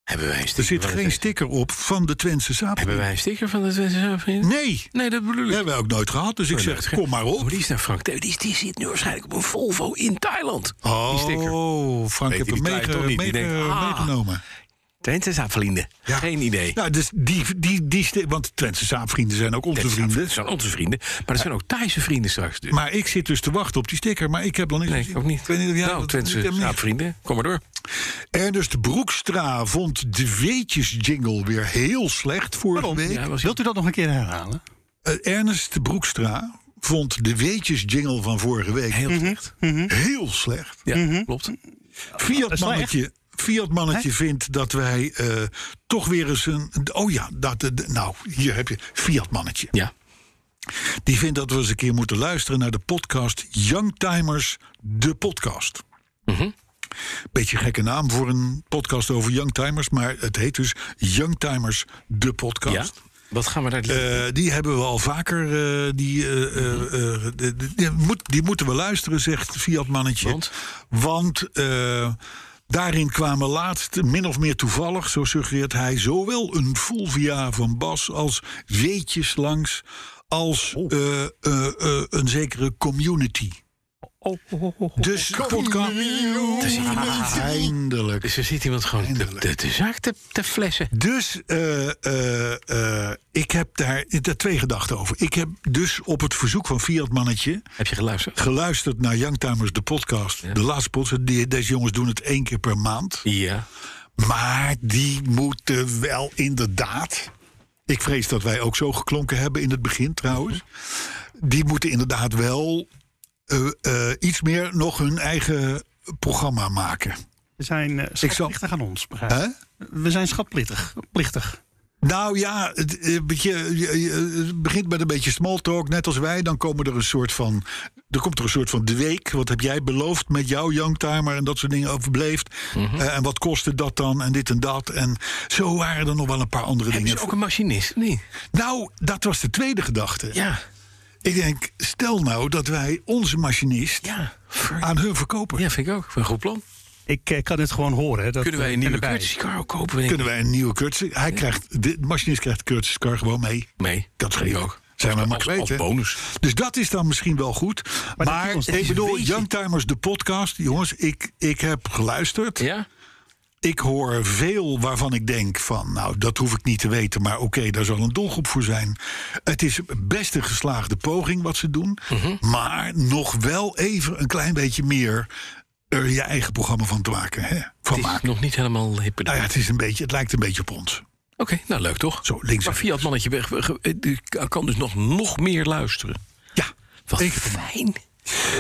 Hebben wij een sticker?
Er zit
van
geen
de Twente-
sticker op van de Twentse
Hebben
saapvrienden.
wij een sticker van de Twente Zaapvrienden?
Nee,
Nee, dat bedoel
dat
ik.
hebben we ook nooit gehad. Dus ik
Oh,
zeg,
dat-
kom maar
Oh,
op.
die is naar Frank Theo. Die, is- die zit nu waarschijnlijk op een Volvo in Thailand. Die sticker.
Oh, Frank
Weet
heeft hem
hij die tijd
meege-
toch niet?
meege-
Die denkt, ah.
meegenomen.
Twente Zaapvrienden.
Ja.
Geen idee.
Nou, dus die, die, die, sti- want Twentse saapvrienden zijn ook onze
Twente Zaapvrienden
vrienden.
zijn onze vrienden. Maar dat zijn ook Thaise vrienden straks. Dus.
Maar ik zit dus te wachten op die sticker, maar ik heb dan niks
Nee,
gezien.
ook
Ik
niet.
weet niet of jij
nou,
dat-
Twente
ik heb niks.
Zaapvrienden. Kom maar door.
Ernest Broekstra vond de weetjes jingle weer heel slecht vorige week.
Ja, was
Wilt u dat nog een keer herhalen?
Eh, Ernest Broekstra vond de weetjes jingle van vorige week
heel slecht.
heel slecht.
Ja, klopt.
Fiat mannetje, Fiat mannetje vindt dat wij eh, toch weer eens een. Oh ja, dat, eh, d- nou, hier heb je Fiat mannetje.
Ja.
Die vindt dat we eens een keer moeten luisteren naar de podcast Youngtimers, de podcast. Beetje gekke naam voor een podcast over Youngtimers, maar het heet dus Youngtimers, de
ja.
podcast.
Wat gaan we daar...
Eh, die hebben we al vaker. eh, die, eh, eh, eh, de- de- die, moet, die moeten we luisteren, zegt Fiat Mannetje.
Want?
Want, eh, daarin kwamen laatst, min of meer toevallig, zo suggereert hij, zowel een Fulvia van Bas als weetjes langs. Als eh, eh, eh, een zekere community. Dus podcast. Eindelijk.
dus er zit iemand gewoon de, de, de zaak te, te flessen.
Dus eh, eh, eh, ik heb daar, daar twee gedachten over. Ik heb dus op het verzoek van Fiat Mannetje
Heb je geluisterd?
geluisterd naar Youngtimers, de podcast. De laatste podcast. Die- Deze jongens doen het één keer per maand.
Ja.
Maar die moeten wel inderdaad. Ik vrees dat wij ook zo geklonken hebben in het begin trouwens. Die moeten inderdaad wel eh, eh, iets meer nog hun eigen programma maken.
We zijn eh, schatplichtig aan ons, begrijp ik.
Hè?
We zijn schatplichtig. Plichtig.
Nou ja, het, eh, beetje, je- je- het begint met een beetje small talk, net als wij. Dan komen er een soort van. Er komt er een soort van de week. Wat heb jij beloofd met jouw youngtimer en dat soort dingen overbeleefd?
Mhm.
Eh, en wat kostte dat dan? En dit en dat. En zo waren er nog wel een paar andere
Heb
dingen.
je ook een machinist? Nee.
Nou, dat was de tweede gedachte.
Ja.
Ik denk, stel nou dat wij onze machinist
Ja, ver-
aan hun verkopen.
ja vind ik ook. Een goed plan.
Ik eh, kan dit gewoon horen. Hè, dat,
Kunnen wij
eh,
een nieuwe
erbij.
currencycar ook kopen? denk ik?
Kunnen wij een nieuwe Kurtse... Hij krijgt, de machinist krijgt de Kurtse car gewoon mee.
Nee,
Dat scheelt
Ik
ook. Zijn we maar
als,
kwijt,
als
hè?
bonus.
Dus dat is dan misschien wel goed. Maar, ik bedoel, Youngtimers, de podcast. Jongens, ik, ik heb geluisterd.
Ja?
Ik hoor veel waarvan ik denk van... nou, dat hoef ik niet te weten, maar oké, daar zal een doelgroep voor zijn. Het is best een geslaagde poging wat ze doen.
Mhm.
Maar nog wel even een klein beetje meer... er je eigen programma van te maken. Hè? Van
Het is
maken.
nog niet helemaal hippe
Nou ja, het, is een beetje, het lijkt een beetje op ons.
Oké, nou leuk toch?
Zo, links
Maar
en
Fiat Mannetje weg, weg- eh, die kan dus nog, nog meer luisteren.
Ja,
Wat
ik-
fijn.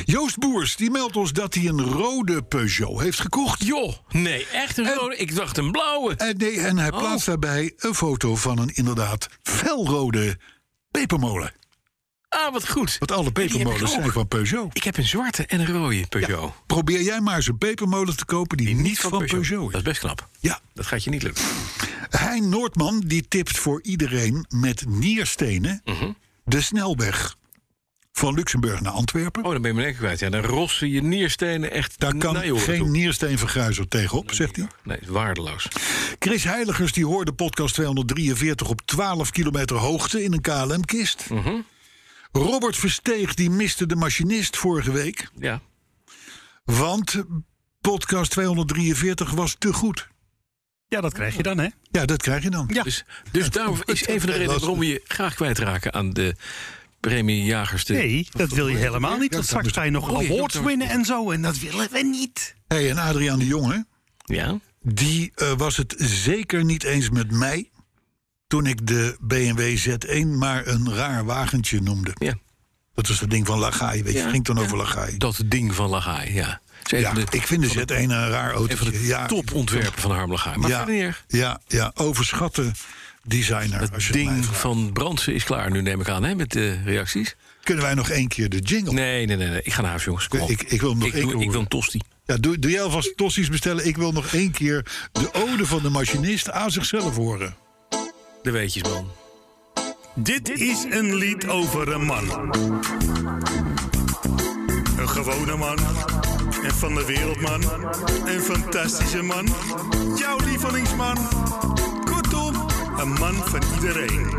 Joost Boers die meldt ons dat hij een rode Peugeot heeft gekocht.
Joh, nee, echt een rode. Ik dacht een blauwe.
En, nee, en hij plaatst daarbij een foto van een inderdaad felrode pepermolen.
Ah, wat goed.
Want alle
heb ik
pepermolens
ook.
zijn van Peugeot.
Ik heb een zwarte en een rode Peugeot.
Probeer jij maar eens een pepermolen te kopen die, niet van, Peugeot,
Dat is
is.
best knap.
Ja,
Dat gaat je niet lukken.
Hein Noordman die tipt voor iedereen met nierstenen de snelweg van Luxemburg naar Antwerpen.
Oh, dan ben je mijn nek kwijt. Ja, dan rossen je nierstenen echt
Daar kan
naar je oren
geen
toe.
niersteenverguizer tegenop, zegt hij.
Nee, het is waardeloos.
Chris Heiligers die hoorde podcast 243 op 12 kilometer hoogte in een KLM-kist.
Mhm.
Robert Versteeg die miste de machinist vorige week.
Ja.
Want podcast 243 was te goed.
Ja, dat krijg je dan, hè?
Ja, dat krijg je dan.
Ja.
Dus, dus daarom is een van de redenen waarom we je graag kwijtraken aan de premiejagers. De...
Nee, dat wil je helemaal niet. Want straks ga je nog
Oh, je
awards
doet-
winnen en zo. En dat willen we niet.
Hey, en Adriaan de Jonge,
Ja.
die eh, was het zeker niet eens met mij... toen ik de BMW Z1 maar een raar wagentje noemde.
ja.
Dat was dat ding van Lagai, weet je.
Ja,
ging toen over Lagai.
Dat ding van Lagai, ja. Het is een
Ja,
van de-
ik vind de Z1 een raar
een van
autootje.
de
Ja,
topontwerpen van Harm Lagai. Maar verder niet erg.
ja, ja, overschatten designer. als
Het
je het mij
ding
vraagt.
van Brandsen is klaar nu, neem ik aan, hè, met de reacties.
Kunnen wij nog één keer de jingle?
Nee, nee, nee, nee. Ik ga naar huis, jongens. Kom op.
Ik, ik wil hem nog
Ik
één keer
doe, ik wil
horen.
een tosti.
Ja, doe, doe jij alvast tossies bestellen. Ik wil nog één keer de ode van de machinist aan zichzelf horen.
De weetjes, man.
Dit is een lied over een man. Een gewone man. En van de wereldman. Een fantastische man. Jouw lievelingsman. Kortom, een man van iedereen.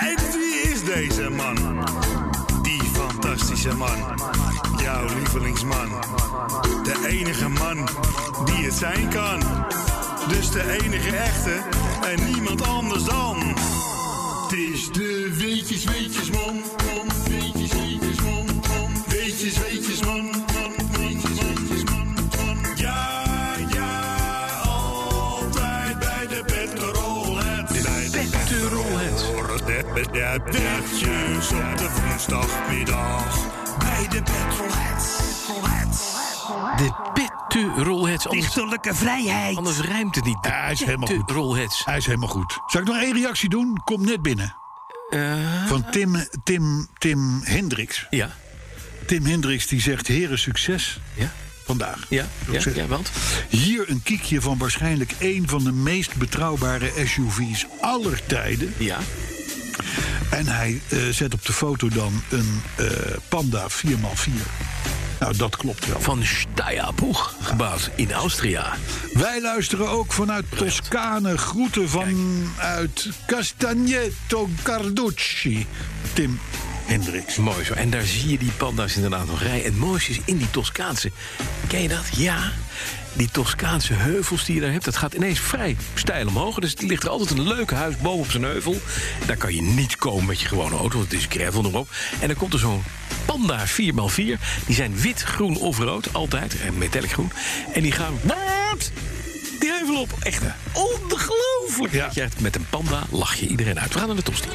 En wie is deze man? Die fantastische man. Jouw lievelingsman. De enige man die het zijn kan. Dus de enige echte en niemand anders dan. Het is de weetjes, weetjes, man, man, weetjes, weetjes, man, man, weetjes, weetjes, man, man, weetjes, weetjes, man, man. Ja, ja, altijd bij de petrolhead. Bij de petrolhead. De weetjes op de woensdagmiddag. Bij de petrolhead.
De Pette Rolheads. Anders,
Dichterlijke vrijheid.
anders rijmt het niet. De
hij is helemaal
Pette
goed.
Rolheads.
Hij is helemaal goed. Zal ik nog één reactie doen? Komt net binnen.
Eh?
Van Tim, Tim, Tim Hendricks.
Ja,
Tim Hendricks die zegt, heren, succes
ja,
vandaag.
ja, ja,
Succes.
ja, want?
Hier een kiekje van waarschijnlijk één van de meest betrouwbare SUV's aller tijden.
Ja,
En hij eh, zet op de foto dan een eh, Panda 4x4. Nou, dat klopt wel.
van Steyr-Poeg, gebouwd in Austria.
Wij luisteren ook vanuit Toscane. Groeten vanuit Castagneto Carducci. Tim Hendricks.
Mooi zo. En daar zie je die panda's inderdaad nog rijden. En het mooiste is in die Toscaanse. Ken je dat? Ja. Die Toscaanse heuvels die je daar hebt, dat gaat ineens vrij steil omhoog. Dus er ligt er altijd een leuk huis boven op zijn heuvel. Daar kan je niet komen met je gewone auto, want het is gravel erop. En dan komt er zo'n panda 4x4. Die zijn wit, groen of rood, altijd. En metallic groen. En die gaan... Die heuvel op. Echt ongelooflijk.
Ja.
Dat je echt- Met een panda lach je iedereen uit. We gaan naar de tosti.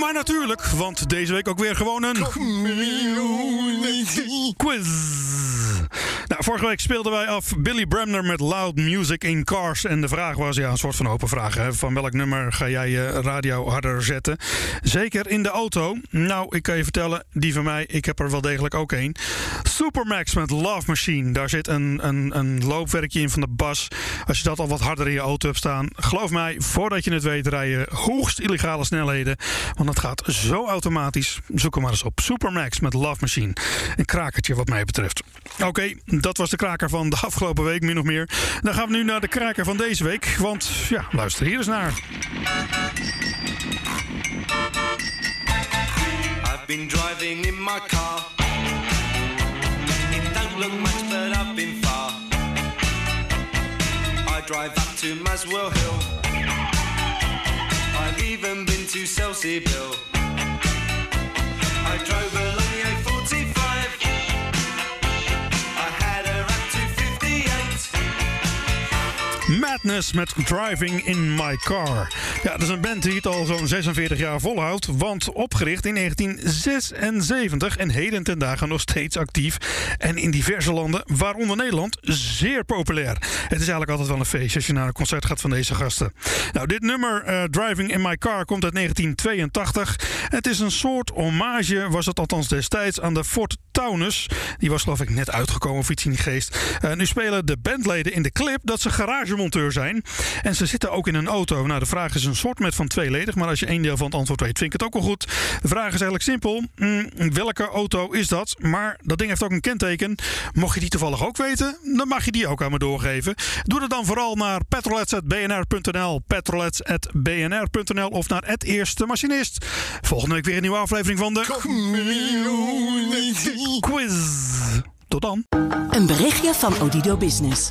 Maar natuurlijk, want deze week ook weer gewoon een... Quiz.
Nou, vorige week speelden wij af Billy Bremner met Loud Music in Cars. En de vraag was, ja, een soort van open vraag. Hè, van welk nummer ga jij je radio harder zetten? Zeker in de auto. Nou, ik kan je vertellen, die van mij, ik heb er wel degelijk ook één. Supermax met Love Machine. Daar zit een, een, een loopwerkje in van de bas. Als je dat al wat harder in je auto hebt staan. Geloof mij, voordat je het weet, rij je hoogst illegale snelheden. Want dat gaat zo automatisch. Zoek hem maar eens op. Supermax met Love Machine. Een krakertje wat mij betreft. Oké, dat was de kraker van de afgelopen week, min of meer. Dan gaan we nu naar de kraker van deze week. Want ja, luister hier eens naar.
I've been driving in my car. It don't look much, but I've been far. I drive up to Maswell Hill. I've even been to Celseyville. I drove along the A45. I had her up to 58.
Madness met Driving in My Car. Ja, dat is een band die het al zo'n 46 jaar volhoudt. Want opgericht in 1976 en heden ten dagen nog steeds actief. En in diverse landen, waaronder Nederland, zeer populair. Het is eigenlijk altijd wel een feest als je naar een concert gaat van deze gasten. Nou, dit nummer, eh, Driving in My Car, komt uit 1982. Het is een soort hommage, was het althans destijds, aan de Ford Taunus. Die was geloof ik net uitgekomen of iets in die geest. Eh, nu spelen de bandleden in de clip dat ze garagemonteur zijn. En ze zitten ook in een auto. Nou, de vraag is een soort met van tweeledig. Maar als je één deel van het antwoord weet, vind ik het ook wel goed. De vraag is eigenlijk simpel. Mm, welke auto is dat? Maar dat ding heeft ook een kenteken. Mocht je die toevallig ook weten, dan mag je die ook aan me doorgeven. Doe dat dan vooral naar petrolets.bnr.nl, petrolets.bnr.nl of naar het eerste machinist. Volgende week weer een nieuwe aflevering van de Quiz. Tot dan.
Een berichtje van Odido Business.